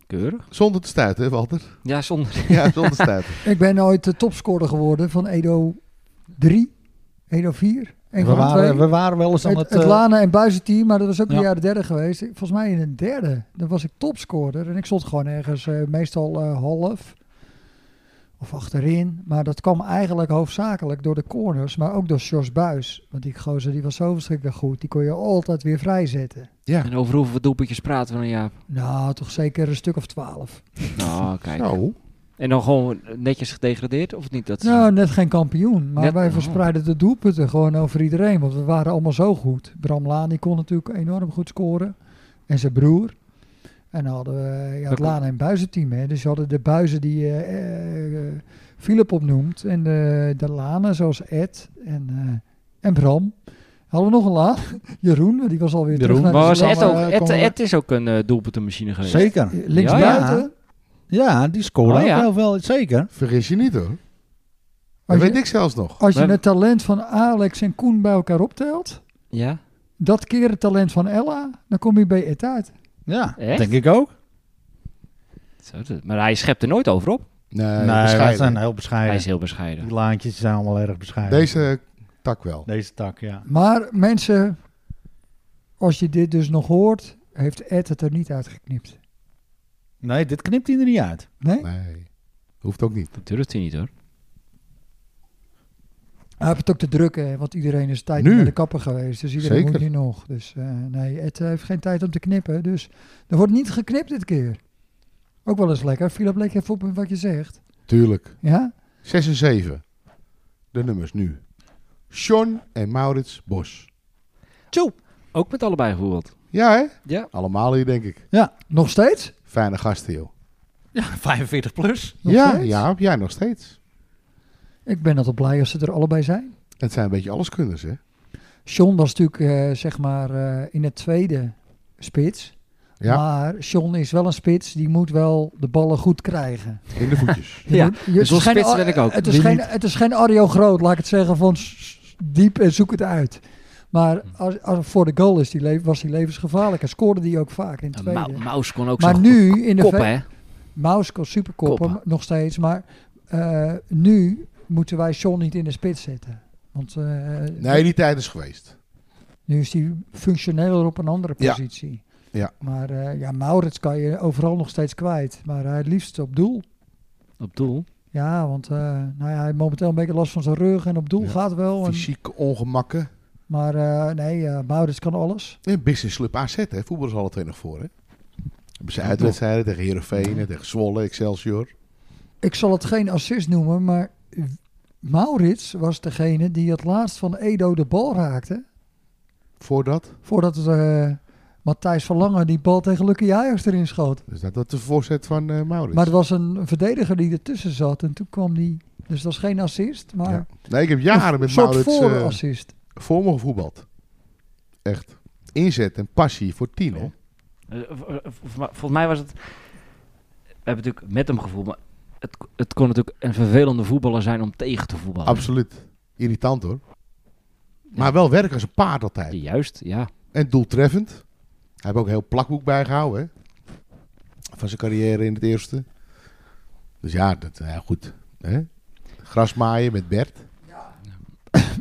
D: Keurig.
F: Zonder te stuiten, hè, Walter?
D: Ja, zonder.
F: Ja, zonder te stuiten.
A: Ik ben ooit de topscorer geworden van Edo 3, Edo 4. Een
E: We
A: van de twee.
E: waren, we waren wel eens aan
A: het,
E: het...
A: het
E: eh,
A: Lane en Buizenteam, maar dat was ook
E: Ja.
A: een jaar de derde geweest. Ik- Volgens mij in een derde. Dan was ik topscorer en ik stond gewoon ergens eh, meestal eh, half of achterin. Maar dat kwam eigenlijk hoofdzakelijk door de corners, maar ook door Sjors Buis. Want die gozer die was zo verschrikkelijk goed. Die kon je altijd weer vrijzetten.
F: Ja.
D: En over hoeveel doelpuntjes praten we dan, Jaap?
A: Nou, toch zeker een stuk of twaalf.
D: Nou, kijk.
F: Zo.
D: En dan gewoon netjes gedegradeerd, of niet? Dat is-
A: Nou, net geen kampioen. Maar
D: Net-
A: wij
D: oh.
A: verspreidden de doelpunten gewoon over iedereen. Want we waren allemaal zo goed. Bram Laan die kon natuurlijk enorm goed scoren. En zijn broer. En dan hadden we ja,
D: Dat
A: het
D: klopt.
A: Laan en Buizenteam. Hè. Dus je hadden de Buizen die eh eh, eh, Philip opnoemt. En de, de Lanen zoals Ed en, eh, en Bram. Hadden we nog een Laan? Jeroen, maar die was alweer
E: Jeroen.
A: terug
D: maar
A: naar
D: was
A: de
D: Ed,
A: Zalm.
D: ook,
E: eh,
D: Ed,
E: komen we-
D: Ed is ook een eh, doelpuntenmachine geweest.
E: Zeker.
A: Links buiten.
E: Ja. Ja, die scoorde
D: Oh,
E: ook
D: ja.
E: heel veel. Zeker.
F: Vergis je niet, hoor. Dat
A: Als
F: weet
A: je,
F: ik zelfs nog.
A: als je
D: Maar-
A: het talent van Alex en Koen bij elkaar optelt...
D: Ja?
A: dat keer het talent van Ella, dan kom je bij Ed uit.
E: Ja,
D: Echt?
E: denk ik ook.
D: Zo is het. Maar hij schept er nooit over op.
F: Nee,
E: nee, wij
F: bescheiden.
E: zijn heel
D: Hij
E: bescheiden.
D: is heel bescheiden.
E: Die laantjes zijn allemaal erg bescheiden.
F: Deze tak wel.
E: Deze tak, ja.
A: Maar mensen, als je dit dus nog hoort, heeft Ed het er niet uitgeknipt.
E: Nee, dit knipt hij er niet uit.
A: Nee?
F: Nee, hoeft ook niet.
D: Dat durft hij niet hoor.
A: Hij heeft het ook te drukken, want iedereen is tijd
F: Nu.
A: naar de kapper geweest. Dus iedereen
F: Zeker.
A: moet nu nog. Dus eh, nee, Ed heeft geen tijd om te knippen. Dus er wordt niet geknipt dit keer. Ook wel eens lekker. Philip, leek even op wat je zegt.
F: Tuurlijk.
A: Ja?
F: 6 en 7. De nummers nu. Sean en Maurits Bos.
D: Ook met allebei gevoeld.
F: Ja, hè?
D: Ja.
F: Allemaal hier, denk ik.
A: Nog steeds?
F: Fijne gasten, joh.
E: Ja, 45 plus.
A: Nog
F: ja,
A: steeds?
F: ja, jij nog steeds.
A: Ik ben altijd blij als ze er allebei zijn.
F: Het zijn een beetje alleskunders, hè?
A: John was natuurlijk, eh, zeg maar, eh, in het tweede spits.
F: Ja,
A: Maar John is wel een spits, die moet wel de ballen goed krijgen.
F: in de voetjes.
A: Je
D: Ja,
A: moet- je-
D: dus
A: het is
D: als
A: geen
D: spits
A: Ar-
D: ben ik ook.
A: Het is,
D: Wie
A: geen,
D: niet?
A: het is geen Arjo Groot, laat ik het zeggen, van s- s- diep en zoek het uit. Maar
D: Hm.
A: als, als voor de goal is die le- was hij levensgevaarlijk en scoorde die ook vaak in het
D: En
A: tweede.
D: Mau- Maus kon ook
A: maar
D: zo
A: nu in de
D: koppen,
A: ve-
D: hè?
A: Mausko superkoppen
D: Koppen.
A: nog steeds, maar eh, nu moeten wij John niet in de spits zetten. Want eh,
F: Nee, die tijd is geweest.
A: nu is hij functioneler op een andere
F: Ja.
A: positie.
F: Ja.
A: Maar eh, ja, Maurits kan je overal nog steeds kwijt. Maar hij het liefst op doel.
D: Op doel.
A: Ja, want eh, nou ja, hij heeft momenteel een beetje last van zijn rug en op doel
F: Ja.
A: gaat wel. En,
F: Fysieke ongemakken.
A: maar eh, nee, eh Maurits kan alles.
F: En Business Club AZ, hè? Voetbal is alle twee nog voor, hè? Hebben ze uitwedstrijden tegen Heerenveen, en tegen Zwolle, Excelsior.
A: Ik zal het geen assist noemen, maar Maurits was degene die het laatst van Edo de bal raakte.
F: Voordat.
A: Voordat eh Matthijs van Lange die bal tegen Lucky Jijers erin schoot.
F: Dus dat was de voorzet van eh Maurits.
A: Maar het was een verdediger die ertussen zat en toen kwam die... Dus dat was geen assist, maar
F: Ja. Nee, ik heb
A: een
F: jaren met
A: soort
F: Maurits eh,
A: voorassist.
F: voor me gevoetbald. Echt. Inzet en passie voor tien,
A: Oh.
F: hè?
D: Eh, v- eh, v- maar Volgens mij was het... We hebben natuurlijk met hem gevoeld, maar... Het, het kon natuurlijk een vervelende voetballer zijn om tegen te voetballen.
F: Absoluut. Irritant, hoor. Maar wel werk als een paard altijd.
D: Juist, ja.
F: En doeltreffend. Hij heeft ook een heel plakboek bijgehouden. Hè? Van zijn carrière in het eerste. Dus ja, dat, ja goed. Hè? Grasmaaien met Bert.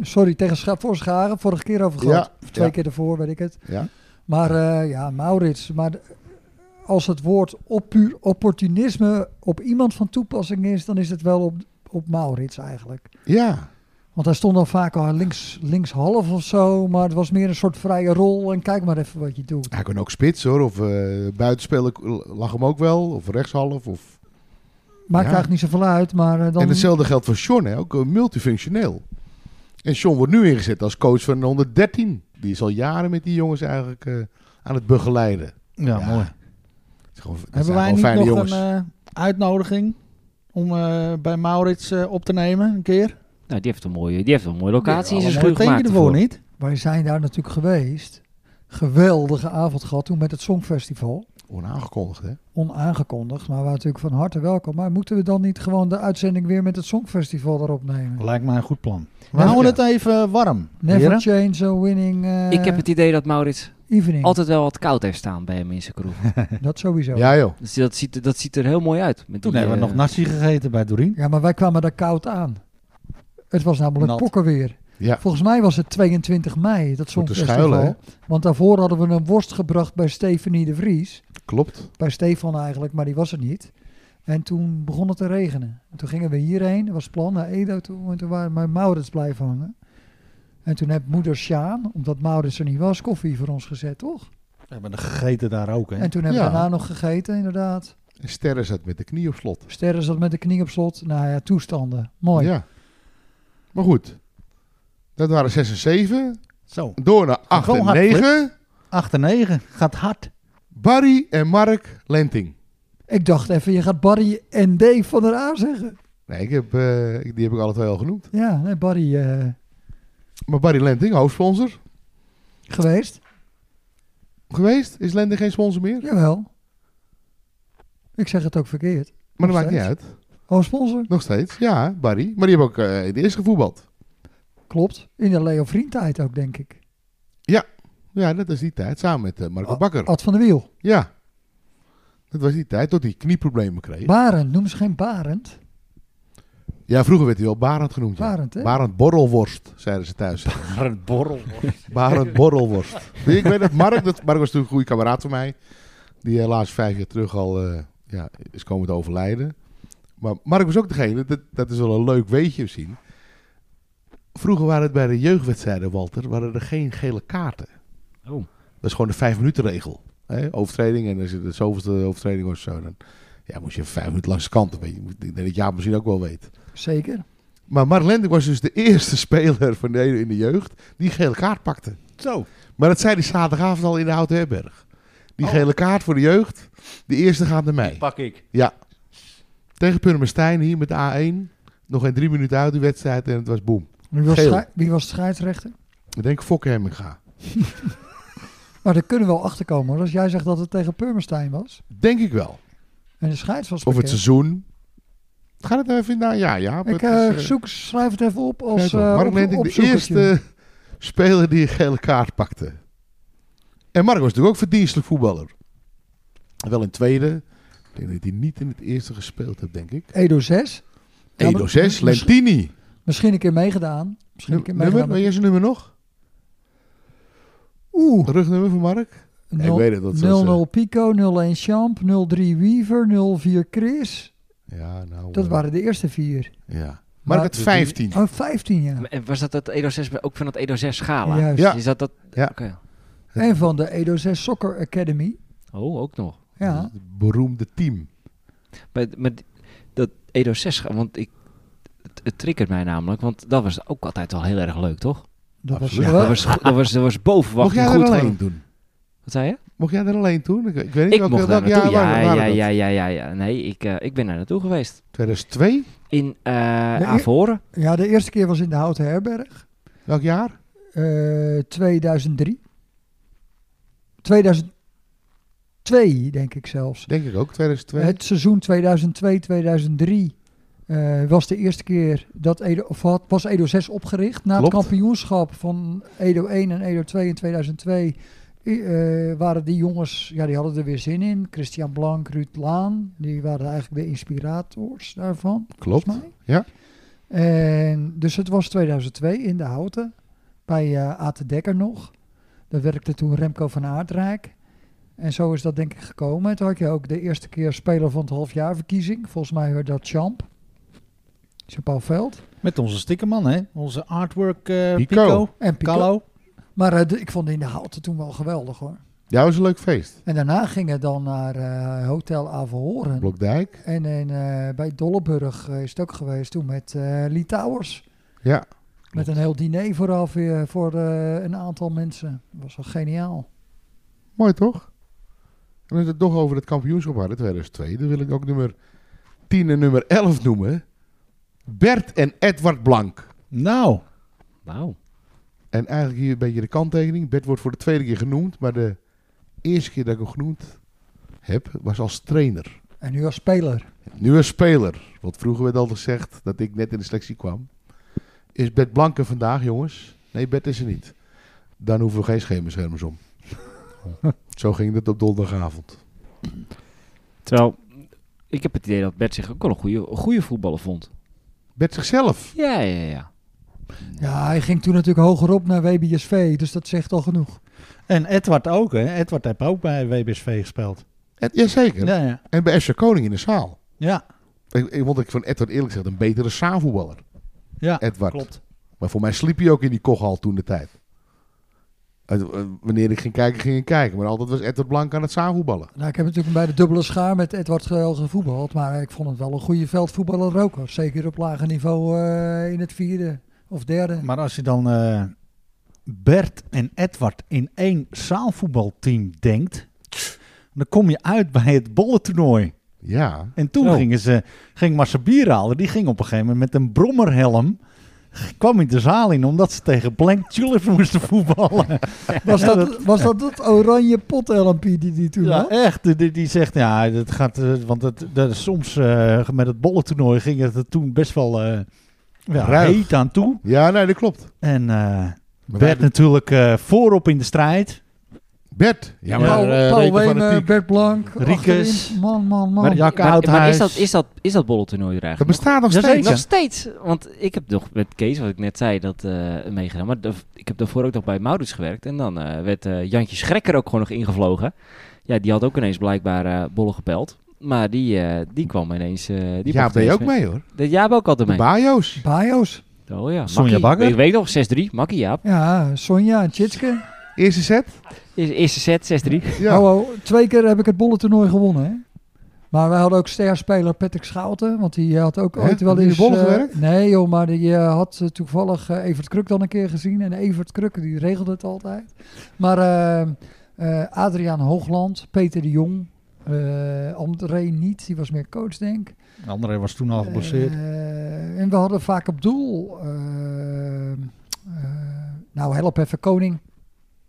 A: Sorry, tegen Scha voor Scharen, vorige keer over gehad.
F: Ja,
A: Of twee
F: ja.
A: keer ervoor, weet ik het.
F: Ja.
A: Maar eh, ja, Maurits, maar de- als het woord op puur opportunisme op iemand van toepassing is, dan is het wel op, op Maurits eigenlijk.
F: ja,
A: Want hij stond dan vaak al links, links half of zo, maar het was meer een soort vrije rol en kijk maar even wat je doet.
F: hij kon ook spits hoor. Of eh buitenspelen lag hem ook wel. Of rechtshalf. Of...
A: Maakt
F: Ja.
A: eigenlijk niet zoveel uit, maar eh, dan...
F: En hetzelfde geldt voor Sean. Hè? Ook eh, multifunctioneel. En Sean wordt nu ingezet als coach van 113. Die is al jaren met die jongens eigenlijk eh, aan het begeleiden. Het
E: Ja,
F: Ja,
E: mooi.
F: zijn gewoon- dat
E: Hebben
F: zijn
E: wij
F: gewoon
E: niet
F: fijne
E: nog
F: jongens.
E: een eh, uitnodiging om eh, bij Maurits eh, op te nemen een keer?
D: Nou, die heeft een mooie, die heeft een mooie locatie in
E: Allemaal
D: zijn schuur
E: een tentje
D: gemaakt.
E: ervoor,
D: ervoor.
E: niet?
A: Wij zijn daar natuurlijk geweest. Geweldige avond gehad toen met het Songfestival.
E: eh,
F: Onaangekondigd hè.
A: Onaangekondigd, maar we waren natuurlijk van harte welkom. Maar moeten we dan niet gewoon de uitzending weer met het Songfestival erop nemen?
E: Lijkt mij een goed plan. We
A: Ja.
E: houden het even warm.
A: Never
E: heren.
A: change a winning eh,
D: Ik heb het idee dat Maurits
A: evening.
D: altijd wel wat koud heeft staan bij hem in zijn kroeg.
A: Dat sowieso. Ja.
F: Ja joh.
D: Dus dat ziet, dat ziet er heel mooi uit. Met
E: Toen
D: die,
E: hebben we
D: eh,
E: nog nasi gegeten bij Doreen.
A: maar wij kwamen daar koud aan. Het was namelijk
E: Nat.
A: pokkenweer.
F: Ja.
A: Volgens mij was het 22 mei, dat
F: Om te
A: songfestival.
F: schuilen,
A: Want daarvoor hadden we een worst gebracht bij Stefanie de Vries.
F: Klopt.
A: Bij Stefan eigenlijk, maar die was er niet. En toen begon het te regenen. En toen gingen we hierheen, dat was het plan, naar Edo toe. En toen waren mijn Maurits blijven hangen. En toen heeft moeder Sjaan, omdat Maurits er niet was, koffie voor ons gezet, toch?
E: We hebben er gegeten daar ook, hè?
A: En toen hebben
F: Ja.
A: we daarna nog gegeten, inderdaad.
F: En Sterren zat met de knie op slot.
A: Sterren zat met de knie op slot. Nou ja, toestanden. Mooi.
F: Ja. Maar goed. Dat waren 6 en 7.
E: Zo.
F: Door naar 8
E: Gewoon
F: en
E: hard,
F: 9.
E: 8 en 9. Gaat hard.
F: Barry en Mark Lenting.
A: Ik dacht even, je gaat Barry en Dave van der A zeggen.
F: Nee, ik heb, eh, ik- die heb ik alle twee al genoemd.
A: Ja, nee, Barry eh,
F: Maar Barry Lenting, hoofdsponsor
A: geweest.
F: geweest. Is Lenting geen sponsor meer?
A: Jawel. Ik zeg het ook verkeerd.
F: maar
A: nog
F: dat maakt niet
A: steeds.
F: uit.
A: Oh, sponsor.
F: Nog steeds. Ja, Barry. Maar die hebben ook eh, in de eerste gevoetbald.
A: Klopt. In de Leo Vriendtijd ook, denk ik. Oh,
F: Ja, dat is die tijd. Samen met eh, Marco Bakker.
A: Ad van de Wiel.
F: Ja. Dat was die tijd tot hij knieproblemen kreeg.
A: Barend, noem ze geen Barend.
F: ja, vroeger werd hij wel Barend genoemd. ja.
A: Barend, hè?
F: Barend Borrelworst, zeiden ze thuis.
B: Barend Borrel.
F: Barend Borrelworst. Ik weet dat Mark, dat, Mark was natuurlijk een goede kameraad van mij. Die helaas vijf jaar terug al eh, ja, is komen te overlijden. Maar Mark was ook degene, dat, dat is wel een leuk weetje zien. Vroeger waren het bij de jeugdwedstrijden, Walter, waren er geen gele kaarten.
D: Oh.
F: Dat is gewoon de vijf minuten regel. Hè? Overtreding en als je de zoveelste overtreding was zo, dan ja, moest je vijf minuten langs de kant. Weet je. Ik denk dat Jaap misschien ook wel weet.
A: Zeker.
F: Maar Mark Lending was dus de eerste speler van de, in de jeugd die gele kaart pakte.
E: Zo.
F: Maar dat zei die zaterdagavond al in de Houten Herberg. Die gele kaart voor de jeugd, de eerste gaat naar mij.
E: Oh. Pak ik.
F: Ja. Tegen Purmerstein hier met de A1. Nog geen drie minuten uit die wedstrijd en het was boem.
A: Wie was,
F: Geel.
A: schei- wie was de scheidsrechter?
F: Ik denk, fok hem, ik ga.
A: Maar Nou, daar kunnen we wel achter komen. Als jij zegt dat het tegen Purmerstein was.
F: Denk ik wel.
A: En de scheids was
F: Of het
A: bekend.
F: seizoen. Ga het nou even na. Ja, ja.
A: Ik eh, zoek, schrijf het even op als eh
F: Mark
A: op-
F: Lending, de
A: opzoekertje.
F: eerste speler die een gele kaart pakte. En Mark was natuurlijk ook verdienstelijk voetballer. Wel in tweede. Ik denk dat hij niet in het eerste gespeeld heeft, denk ik.
A: Edo 6. Ja, maar-
F: Edo 6,
A: mis-
F: Lentini.
A: Misschien een keer meegedaan. Misschien een keer
F: Nummer,
A: meegedaan.
F: weet je zijn nummer nog?
A: Oeh.
F: Rugnummer van Mark?
A: nul-
F: ik weet het, dat is, eh,
A: 0-0 Pico, 0-1 Champ, 0-3 Weaver, 0-4 Chris.
F: Ja, nou...
A: Dat
F: eh,
A: waren de eerste vier.
F: Ja.
A: Maar-
F: Mark het 15.
A: Oh, 15 jaar.
D: En was dat dat Edo 6, ook van dat Edo 6 gala?
A: Juist.
F: Ja.
D: Is dat dat?
F: Ja.
D: Oké.
A: En van de Edo 6 Soccer Academy.
D: Oh, ook nog.
A: Ja.
F: Het beroemde team.
D: Maar, maar die- dat Edo 6, ga- want ik, het, het triggert mij namelijk, want dat was ook altijd wel heel erg leuk, toch?
A: Dat was, eh,
F: Absoluut.
A: wel-
D: Dat was, dat was, dat was boven
F: Mocht jij
D: goed.
F: er
D: want-
F: alleen doen?
D: Wat zei je?
F: Mocht jij er alleen toen? Ik, ik weet niet
D: Ik
F: welke-
D: mocht daar
F: welk
D: naartoe.
F: jaar
D: Ja,
F: waren-
D: ja,
F: waren
D: ja,
F: dat.
D: ja, ja, ja, Nee, ik, eh, ik ben daar naartoe geweest.
F: 2002?
D: In eh
A: eer-
D: Avoren.
A: ja, de eerste keer was in de Houten Herberg.
F: Welk jaar?
A: eh, 2003. 2002, denk ik zelfs.
F: Denk ik ook, 2002.
A: Het seizoen 2002-2003 eh, was de eerste keer dat Edo, of had, was Edo 6 opgericht. Na het
F: Klopt.
A: kampioenschap van Edo 1 en Edo 2 in 2002 eh, eh, waren die jongens, ja die hadden er weer zin in. Christian Blank, Ruud Laan, die waren eigenlijk de inspirators daarvan.
F: Klopt.
A: volgens mij.
F: Ja.
A: En, dus het was 2002 in de Houten, bij eh Ate Dekker nog. Daar werkte toen Remco van Aardrijk. En zo is dat denk ik gekomen. En Toen had je ook de eerste keer speler van het halfjaarverkiezing. Volgens mij werd dat Champ. Jean-Paul Veld.
E: Met onze stickerman, hè? Onze artwork eh
F: Pico.
E: Pico.
A: En Pico.
E: Carlo.
A: Maar eh, de- ik vond in de Houten toen wel geweldig hoor.
F: Ja, was een leuk feest.
A: En daarna gingen we dan naar eh, Hotel Averhoren.
F: Blokdijk.
A: En, en eh, bij Dolleburg eh, is het ook geweest toen met eh Lee Towers.
F: Ja.
A: Met een heel diner vooraf eh, voor eh, een aantal mensen. Dat was wel geniaal.
F: Mooi toch? En als we het toch over het kampioenschap hadden, 2002, dan wil ik ook nummer 10 en nummer 11 noemen. Bert en Edward Blank.
E: Nou,
D: Wauw.
F: En eigenlijk hier een beetje de kanttekening. Bert wordt voor de tweede keer genoemd, maar de eerste keer dat ik hem genoemd heb, was als trainer.
A: En nu als speler.
F: Nu als speler, want vroeger werd al gezegd dat ik net in de selectie kwam. Is Bert Blank er vandaag, jongens? Nee, Bert is er niet. Dan hoeven we geen schemerschermers om. Zo ging het op donderdagavond.
D: Terwijl, ik heb het idee dat Bert zich ook wel een goede, een goede voetballer vond.
F: Bert zichzelf.
D: Ja, ja, ja.
A: Ja, hij ging toen natuurlijk hogerop naar WBSV. Dus dat zegt al genoeg.
E: en Edward ook, hè? Edward heeft ook bij WBSV gespeeld.
F: En, jazeker.
E: Ja, ja.
F: En bij FC Koning in de zaal.
E: Ja,
F: Ik, ik vond ik van Edward eerlijk gezegd een betere zaalvoetballer.
E: ja.
F: Edward.
E: klopt.
F: Maar voor mij sliep hij ook in die kochal toen de tijd. Uit- eh, Wanneer ik ging kijken, ging ik kijken. Maar altijd was Edward Blank aan het zaalvoetballen.
A: Nou, ik heb natuurlijk bij de dubbele schaar met Edward Geel gevoetbald. Maar ik vond het wel een goede veldvoetballer ook. hoor. Zeker op lager niveau eh, in het vierde of derde.
E: Maar als je dan eh, Bert en Edward in één zaalvoetbalteam denkt, dan kom je uit bij het bollentoernooi.
F: Ja.
E: En toen
B: Oh.
E: gingen ze, ging Marcel Bierhalen, die ging op een gegeven moment met een brommerhelm, g- kwam hij de zaal in omdat ze tegen Blank Tulip moesten voetballen.
A: Was dat was dat, dat oranje pot LMP die die toen
E: Ja,
A: had?
E: echt. Die, die zegt, ja, dat gaat, eh, want dat, dat is soms eh, met het bollentoernooi ging het er toen best wel eh ja,
F: Ruig.
E: heet aan toe.
F: Ja, nee, dat klopt.
E: En eh
F: Maar
E: Bert
F: wij-
E: natuurlijk eh, voorop in de strijd.
F: Bert Bert.
G: Ja, maar
A: Paul,
G: eh,
A: Paul
G: Reken
A: Weemer,
G: Fanatiek.
A: Bert Blank,
E: Riekes.
A: achterin. Man, man, man.
D: Maar,
E: Jack
D: maar, maar
E: Houthuis.
D: is dat, is dat, is dat bollentoernooi er
F: Dat
D: eigenlijk?
F: bestaat nog
E: Jazeker.
F: steeds.
D: Nog steeds, want ik heb nog met Kees, wat ik net zei, dat eh, meegedaan. Maar da- ik heb daarvoor ook nog bij Maurits gewerkt. En dan eh, werd eh, Jantje Schrekker ook gewoon nog ingevlogen. Ja, die had ook ineens blijkbaar eh, bollen gepeld. Maar die, eh, die kwam ineens... eh die
F: Ja,
D: mocht
F: ben je
D: ineens
F: ook mee hoor.
D: De Jaap ook altijd
F: De
D: mee.
F: Bajo's.
A: Bajo's.
D: oh ja,
E: Sonja
D: Makkie.
E: Bakker.
D: Ik weet nog, 6-3. Makkie Jaap.
A: Ja, Sonja en Tjitske.
F: Eerste set.
D: Eerste eerste set, 6-3.
F: Ja.
A: Hallo, Nou, oh, twee keer heb ik het bollentoernooi gewonnen, hè. Maar wij hadden ook sterspeler Patrick Schouten, want die had ook
F: Hè?
A: ooit wel
F: Had die in
A: eens...
F: de bollen
A: eh,
F: gewerkt?
A: nee joh, maar die eh, had eh, toevallig eh, Evert Kruk dan een keer gezien. En Evert Kruk, die regelde het altijd. Maar eh, eh, Adriaan Hoogland, Peter de Jong, eh André niet, die was meer coach denk ik.
E: André was toen al geblesseerd.
A: Eh, en we hadden vaak op doel. eh, eh, nou, help even Koning.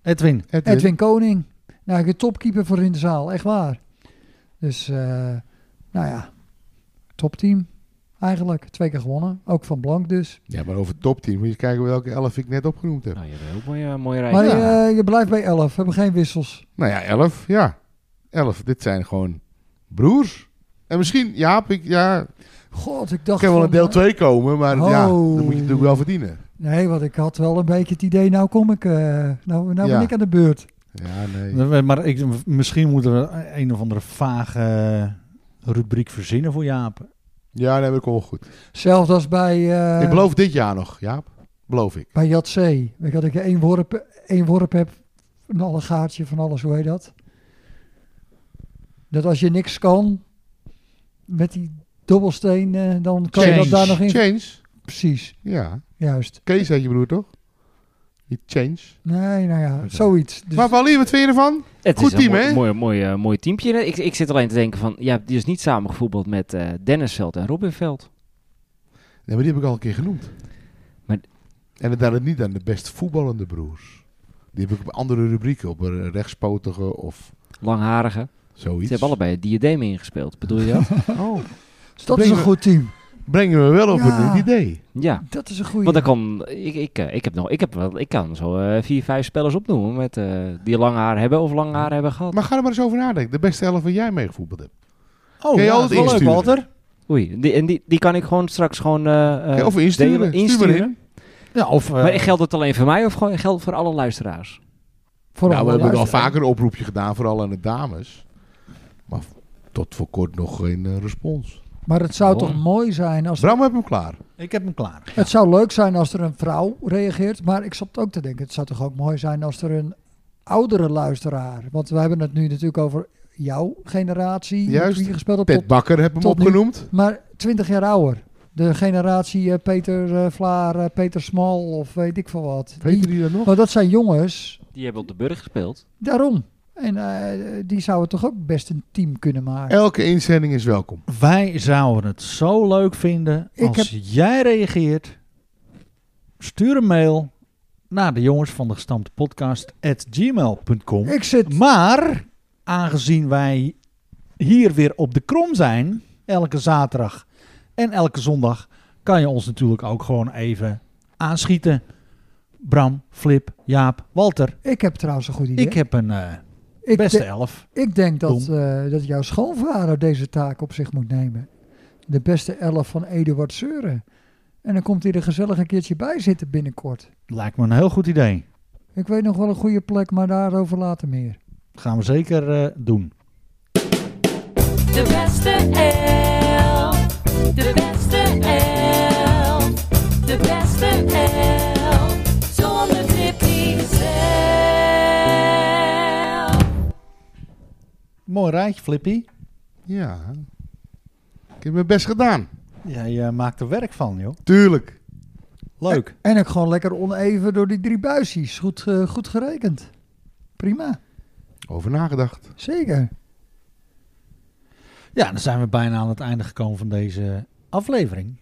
E: Eh, Edwin.
F: Edwin.
A: Edwin Koning. Nou, de topkeeper voor in de zaal, echt waar. Dus, eh, nou ja, topteam eigenlijk. Twee keer gewonnen, ook van Blank dus.
F: Ja, maar over het topteam moet je kijken welke elf ik net opgenoemd heb.
D: Nou, je hebt een heel mooie, mooie rij.
A: Maar
D: Ja.
A: eh, je blijft bij 11, we hebben geen wissels.
F: Nou ja, elf. Ja, elf. Dit zijn gewoon broers. En misschien, Jaap, ik, ja,
A: God, ik dacht...
F: kan wel
A: van,
F: een deel 2 komen, maar ja,
A: Oh.
F: dan moet je natuurlijk wel verdienen.
A: eh, Nee, want ik had wel een beetje het idee, nou kom ik, eh, nou, nou
F: Ja.
A: ben ik aan de beurt.
F: Ja, nee.
E: We- Maar ik, misschien moeten we een of andere vage eh, rubriek verzinnen voor Jaap.
F: Ja, nee, maar dat komt wel goed.
A: Zelfs als bij... eh,
F: ik beloof dit jaar nog, Jaap. Beloof ik.
A: Bij Jat C. Weet je dat ik één worp, één worp heb, een allegaartje van alles, hoe heet dat? Dat als je niks kan, met die dobbelsteen, eh, dan kan je
E: Change.
A: dat daar nog in.
F: Change?
A: Precies,
F: Ja.
A: juist.
F: Kees had je broer, toch? Niet Change.
A: Nee, nou ja, zoiets. Dus
F: Maar Wally, wat vind je ervan?
D: Het
F: Goed
D: is
F: team,
D: een mooi,
F: hè?
D: mooi, mooi, eh, mooi teampje. Ik, ik zit alleen te denken van, ja, die is niet samen gevoetbald met eh Dennis Veld en Robin Veld.
F: Nee, maar die heb ik al een keer genoemd.
D: Maar-
F: En het daar niet aan de best voetballende broers. Die heb ik op andere rubrieken, op eh, rechtspotige of
D: Langharige.
F: zoiets.
D: Ze hebben allebei het diadeem ingespeeld, bedoel je dat?
F: Oh.
A: dat is een
F: brengen we-
A: goed team.
F: Brengen we wel op
A: Ja.
F: een idee.
D: ja.
A: Dat is een goede.
D: Want dan kan, ik, ik, eh, ik heb nog, ik heb wel, ik kan zo eh, vier, vijf spellers opnoemen met, eh, die lang haar hebben of lang haar hebben gehad.
F: Maar ga er maar eens over nadenken. De beste elf waar jij mee gevoetbald hebt.
E: Oh,
F: Kun je
E: ja,
F: altijd
E: dat is wel leuk,
F: insturen.
E: Walter.
D: Oei, die, en die, die kan ik gewoon straks gewoon eh, eh,
F: Ja, of insturen.
D: delen,
F: Stuur maar
D: insturen.
F: in.
E: Ja, of, eh,
D: Maar geldt het alleen voor mij of gewoon- geldt het voor alle luisteraars?
A: Voor
F: nou, we
A: alle
F: hebben al
A: luisteraars.
F: vaker een oproepje gedaan, vooral aan de dames. Maar v- tot voor kort nog geen eh, respons.
A: Maar het zou toch
D: Waarom?
A: mooi zijn als...
F: Bram, heb hem klaar.
E: ik heb hem klaar.
A: Het zou leuk zijn als er een vrouw reageert, maar ik zat ook te denken, het zou toch ook mooi zijn als er een oudere luisteraar, want we hebben het nu natuurlijk over jouw generatie,
F: Juist.
A: die gespeeld hebt
F: Ted
A: tot-
F: Bakker heb hem
A: tot nu-
F: opgenoemd.
A: maar 20 jaar ouder. De generatie eh, Peter eh, Vlaar, eh, Peter Smal of weet ik veel wat.
F: Weet
A: Die-
F: jullie dat nog?
A: maar dat zijn jongens,
D: Die hebben op de burg gespeeld.
A: daarom. En eh, die zouden toch ook best een team kunnen maken.
F: Elke inzending is welkom.
E: Wij zouden het zo leuk vinden
A: Ik
E: als jij reageert. Stuur een mail naar de jongens van de gestampte podcast at gmail.com.
A: Ik zit,
E: Maar aangezien wij hier weer op de krom zijn, elke zaterdag en elke zondag, kan je ons natuurlijk ook gewoon even aanschieten. Bram, Flip, Jaap, Walter.
A: ik heb trouwens een goed idee.
E: Ik heb een eh,
A: Ik
E: beste
A: de-
E: elf.
A: Ik denk dat,
E: Dom.
A: eh, dat jouw schoonvader deze taak op zich moet nemen. De beste elf van Eduard Seuren. En dan komt hij er gezellig een keertje bij zitten binnenkort.
E: Lijkt me een heel goed idee.
A: Ik weet nog wel een goede plek, maar daarover later meer.
E: Gaan we zeker eh, doen.
H: De beste elf. De beste elf. De beste elf. Zonder Tippy zelf.
E: Mooi rijtje, Flippy.
F: Ja. Ik heb mijn best gedaan.
E: Jij eh, maakt er werk van, joh.
F: Tuurlijk.
E: Leuk.
A: En ik gewoon lekker oneven door die drie buisjes. Goed, eh, goed gerekend. Prima,
F: Over nagedacht.
A: zeker.
E: Ja, dan zijn we bijna aan het einde gekomen van deze aflevering.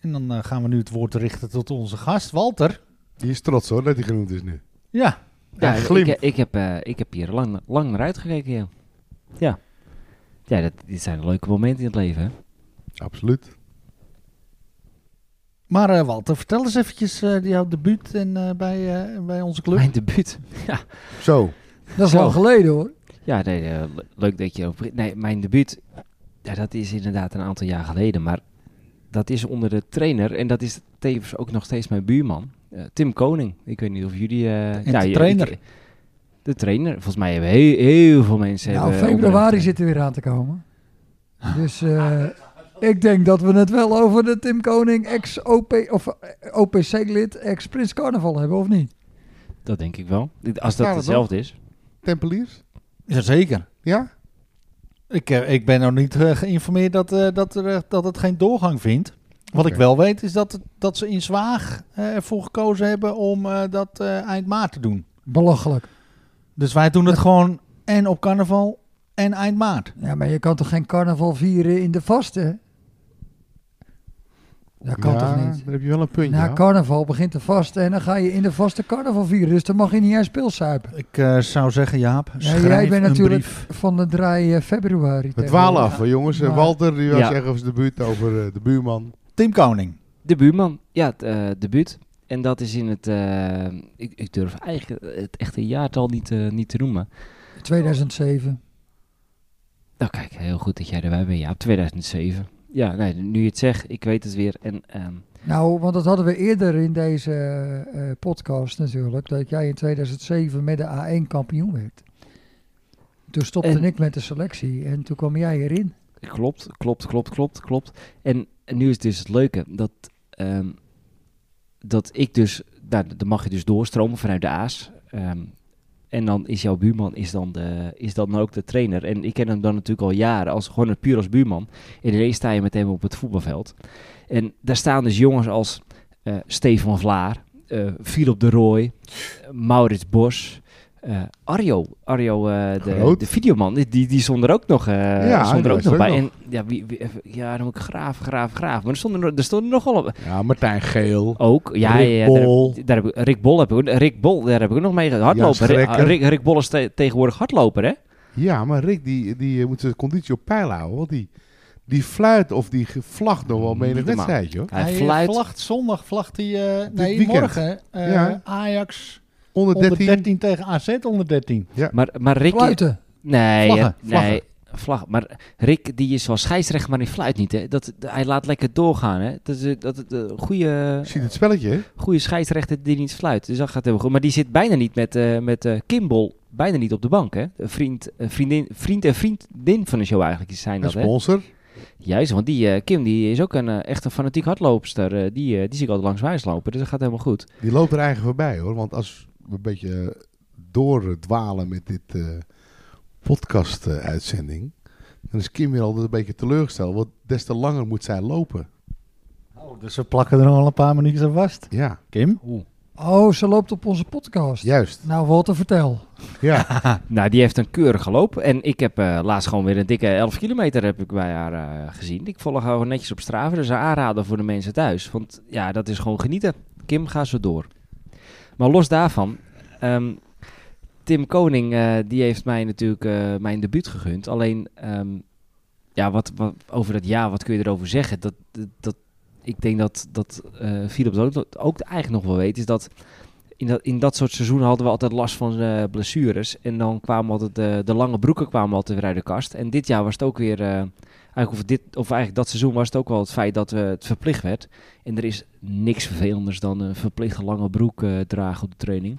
E: En dan eh, gaan we nu het woord richten tot onze gast, Walter.
F: Die is trots hoor dat hij genoemd is nu.
E: Ja,
D: Ja,
F: Ja,
D: ik,
F: glimt.
D: ik, ik heb, eh, ik heb hier lang, lang naar uitgekeken, joh. Ja. Ja, dat, dit zijn leuke momenten in het leven, hè?
F: Absoluut.
E: Maar eh, Walter, vertel eens eventjes eh jouw debuut en, eh, bij, eh, bij onze club.
D: Mijn debuut.
F: Zo.
A: Dat is
D: Zo.
A: lang geleden hoor.
D: Ja, nee, eh, le- leuk dat je... op- Nee, mijn debuut, ja, dat is inderdaad een aantal jaar geleden. Maar dat is onder de trainer. En dat is tevens ook nog steeds mijn buurman. eh, Tim Koning. Ik weet niet of jullie... eh, ja,
E: de
D: je-
E: trainer.
D: ik- de trainer. Volgens mij hebben heel, heel veel mensen...
A: Nou,
D: hebben
A: februari
D: opdrachten.
A: zit er weer aan te komen. Dus eh, ik denk dat we het wel over de Tim Koning ex-OP of eh, OPC-lid, ex-Prins Carnaval hebben, of niet?
D: Dat denk ik wel. Als dat
F: Ja, dat
D: hetzelfde is.
F: Tempeliers?
E: Jazeker.
F: Ja?
E: Ik, eh, ik ben nog niet eh, geïnformeerd dat, eh, dat, er, eh, dat het geen doorgang vindt. Wat ik
F: Oké.
E: wel weet is dat, dat ze in Zwaag eh, ervoor gekozen hebben om eh, dat eh, eind maart te doen.
A: Belachelijk.
E: Dus wij doen het gewoon en op carnaval en eind maart.
A: Ja, maar je kan toch geen carnaval vieren in de vaste? Dat kan
F: Ja,
A: toch niet?
F: Dan heb je wel een puntje.
D: Nou,
A: Na
F: ja.
A: carnaval begint de vaste en dan ga je in de vaste carnaval vieren. Dus dan mag je niet eens pilsuipen.
E: Ik eh, zou zeggen, Jaap,
A: jij
E: schrijf
A: bent
E: een
A: natuurlijk-
E: brief.
A: Van de draai eh, februari.
F: We
A: tegenwoordig.
F: dwalen af, hè, jongens. Eh,
A: Maar-
F: Walter, die wil
D: Ja.
F: zeggen over de buurt, over eh, de buurman.
E: Tim Koning.
D: De buurman, ja, het eh, debuut. En dat is in het, eh, ik, ik durf eigenlijk het echte jaartal niet, eh, niet te noemen.
A: 2007.
D: Nou kijk, heel goed dat jij erbij bent. Ja, 2007. Ja, nee, nu je het zegt, ik weet het weer. En ehm,
A: Nou, want dat hadden we eerder in deze eh, eh, podcast natuurlijk. Dat jij in 2007 met de A1 kampioen werd. Toen stopte
D: En-
A: ik met de selectie en toen kwam jij erin.
D: klopt, klopt, klopt, klopt, klopt. En, en nu is dus het leuke dat, ehm, dat ik dus, nou, dan mag je dus doorstromen vanuit de A's. Ehm, en dan is jouw buurman is dan, de, is dan ook de trainer. En ik ken hem dan natuurlijk al jaren, als, gewoon puur als buurman. En ineens sta je met hem op het voetbalveld. En daar staan dus jongens als eh Stefan Vlaar, eh Philip de Rooij, eh, Maurits Bos, eh, Arjo, Arjo eh, de,
F: Groot.
D: de videoman, die, die, die stond er ook nog, eh
F: Ja,
D: stond er
F: die
D: ook
F: was
D: nog
F: er ook
D: bij. En
F: nog.
D: ja, wie, wie- even- ja, dan moet ik graven, graven, graven. Maar er stonden, er- er stonden nogal op.
G: Ja, Martijn Geel.
D: Ook, ja,
G: Rick
D: ja, ja,
G: Bol.
D: Daar, daar heb ik, Rick Bol heb ik, ook- Rick Bol, daar heb ik ook nog mee gehad.
F: Jan
D: Hardloper, hè?
F: Schrekker.
D: Rick, Rick Bol is te- tegenwoordig hardloper, hè?
F: Ja, maar Rick, die, die eh, moet zijn conditie op peil houden. Want die, die fluit of die ge- vlagt nog wel mee in een
D: Niet normaal.
F: wedstrijd, joh.
D: Hij,
E: Hij, eh,
D: fluit.
E: vlagt zondag, vlagt hij, eh,
F: Dit
E: nee,
F: weekend.
E: morgen, eh,
F: Ja.
E: Ajax
F: Onder
E: onder
F: 13.
E: 13 tegen AZ onder 13.
D: Maar, maar Rick...
A: Fluiten.
D: Nee,
E: Vlaggen,
D: hè, nee. Vlag. Maar Rick, die is wel scheidsrecht, maar hij fluit niet, hè? Dat, dat- hij laat lekker doorgaan, hè? Dat is eh, dat, het eh, goede,
F: Je ziet het spelletje, hè?
D: goede scheidsrechter die niet fluit. Dus dat gaat helemaal goed. Maar die zit bijna niet met, eh met eh, Kimball, bijna niet op de bank, hè? Een Vriend, een vriendin, vriend en vriendin van de show eigenlijk die zijn
F: Een
D: dat, hè?
F: sponsor.
D: Juist, want die eh, Kim die is ook een eh, echt een fanatiek hardloopster. Eh, die, eh, die zie ik altijd langs mij eens lopen, dus dat gaat helemaal goed.
F: Die loopt er eigen voorbij, hoor. Want als we een beetje eh, doordwalen met dit eh, podcast-uitzending... dan is Kim weer altijd een beetje teleurgesteld. Want des te langer moet zij lopen.
E: dus we plakken er nog wel een paar minuutjes aan vast.
F: Ja,
E: Kim?
A: Oh, ze loopt op onze podcast.
F: juist.
A: Nou, Walter, vertel.
F: Ja,
D: Nou, die heeft een keurige loop. En ik heb eh, laatst gewoon weer een dikke 11 kilometer heb ik bij haar eh, gezien. Ik volg haar gewoon netjes op Strava. Dus een aanrader voor de mensen thuis. Want ja, dat is gewoon genieten. Kim, ga zo door. Maar los daarvan... ehm, Tim Koning, eh, die heeft mij natuurlijk eh, mijn debuut gegund. Alleen, ehm, ja, wat, wat, over dat jaar, wat kun je erover zeggen? Dat, dat- dat, ik denk dat, dat eh Philip dat ook, ook eigenlijk nog wel weet, is dat in dat, in dat soort seizoenen hadden we altijd last van eh, blessures. En dan kwamen altijd eh, de lange broeken kwamen altijd weer uit de kast. En dit jaar was het ook weer. eh, eigenlijk, of, dit, of eigenlijk dat seizoen was het ook wel het feit dat we het verplicht werd. En er is niks vervelenders dan een verplichte lange broek eh, dragen op de training.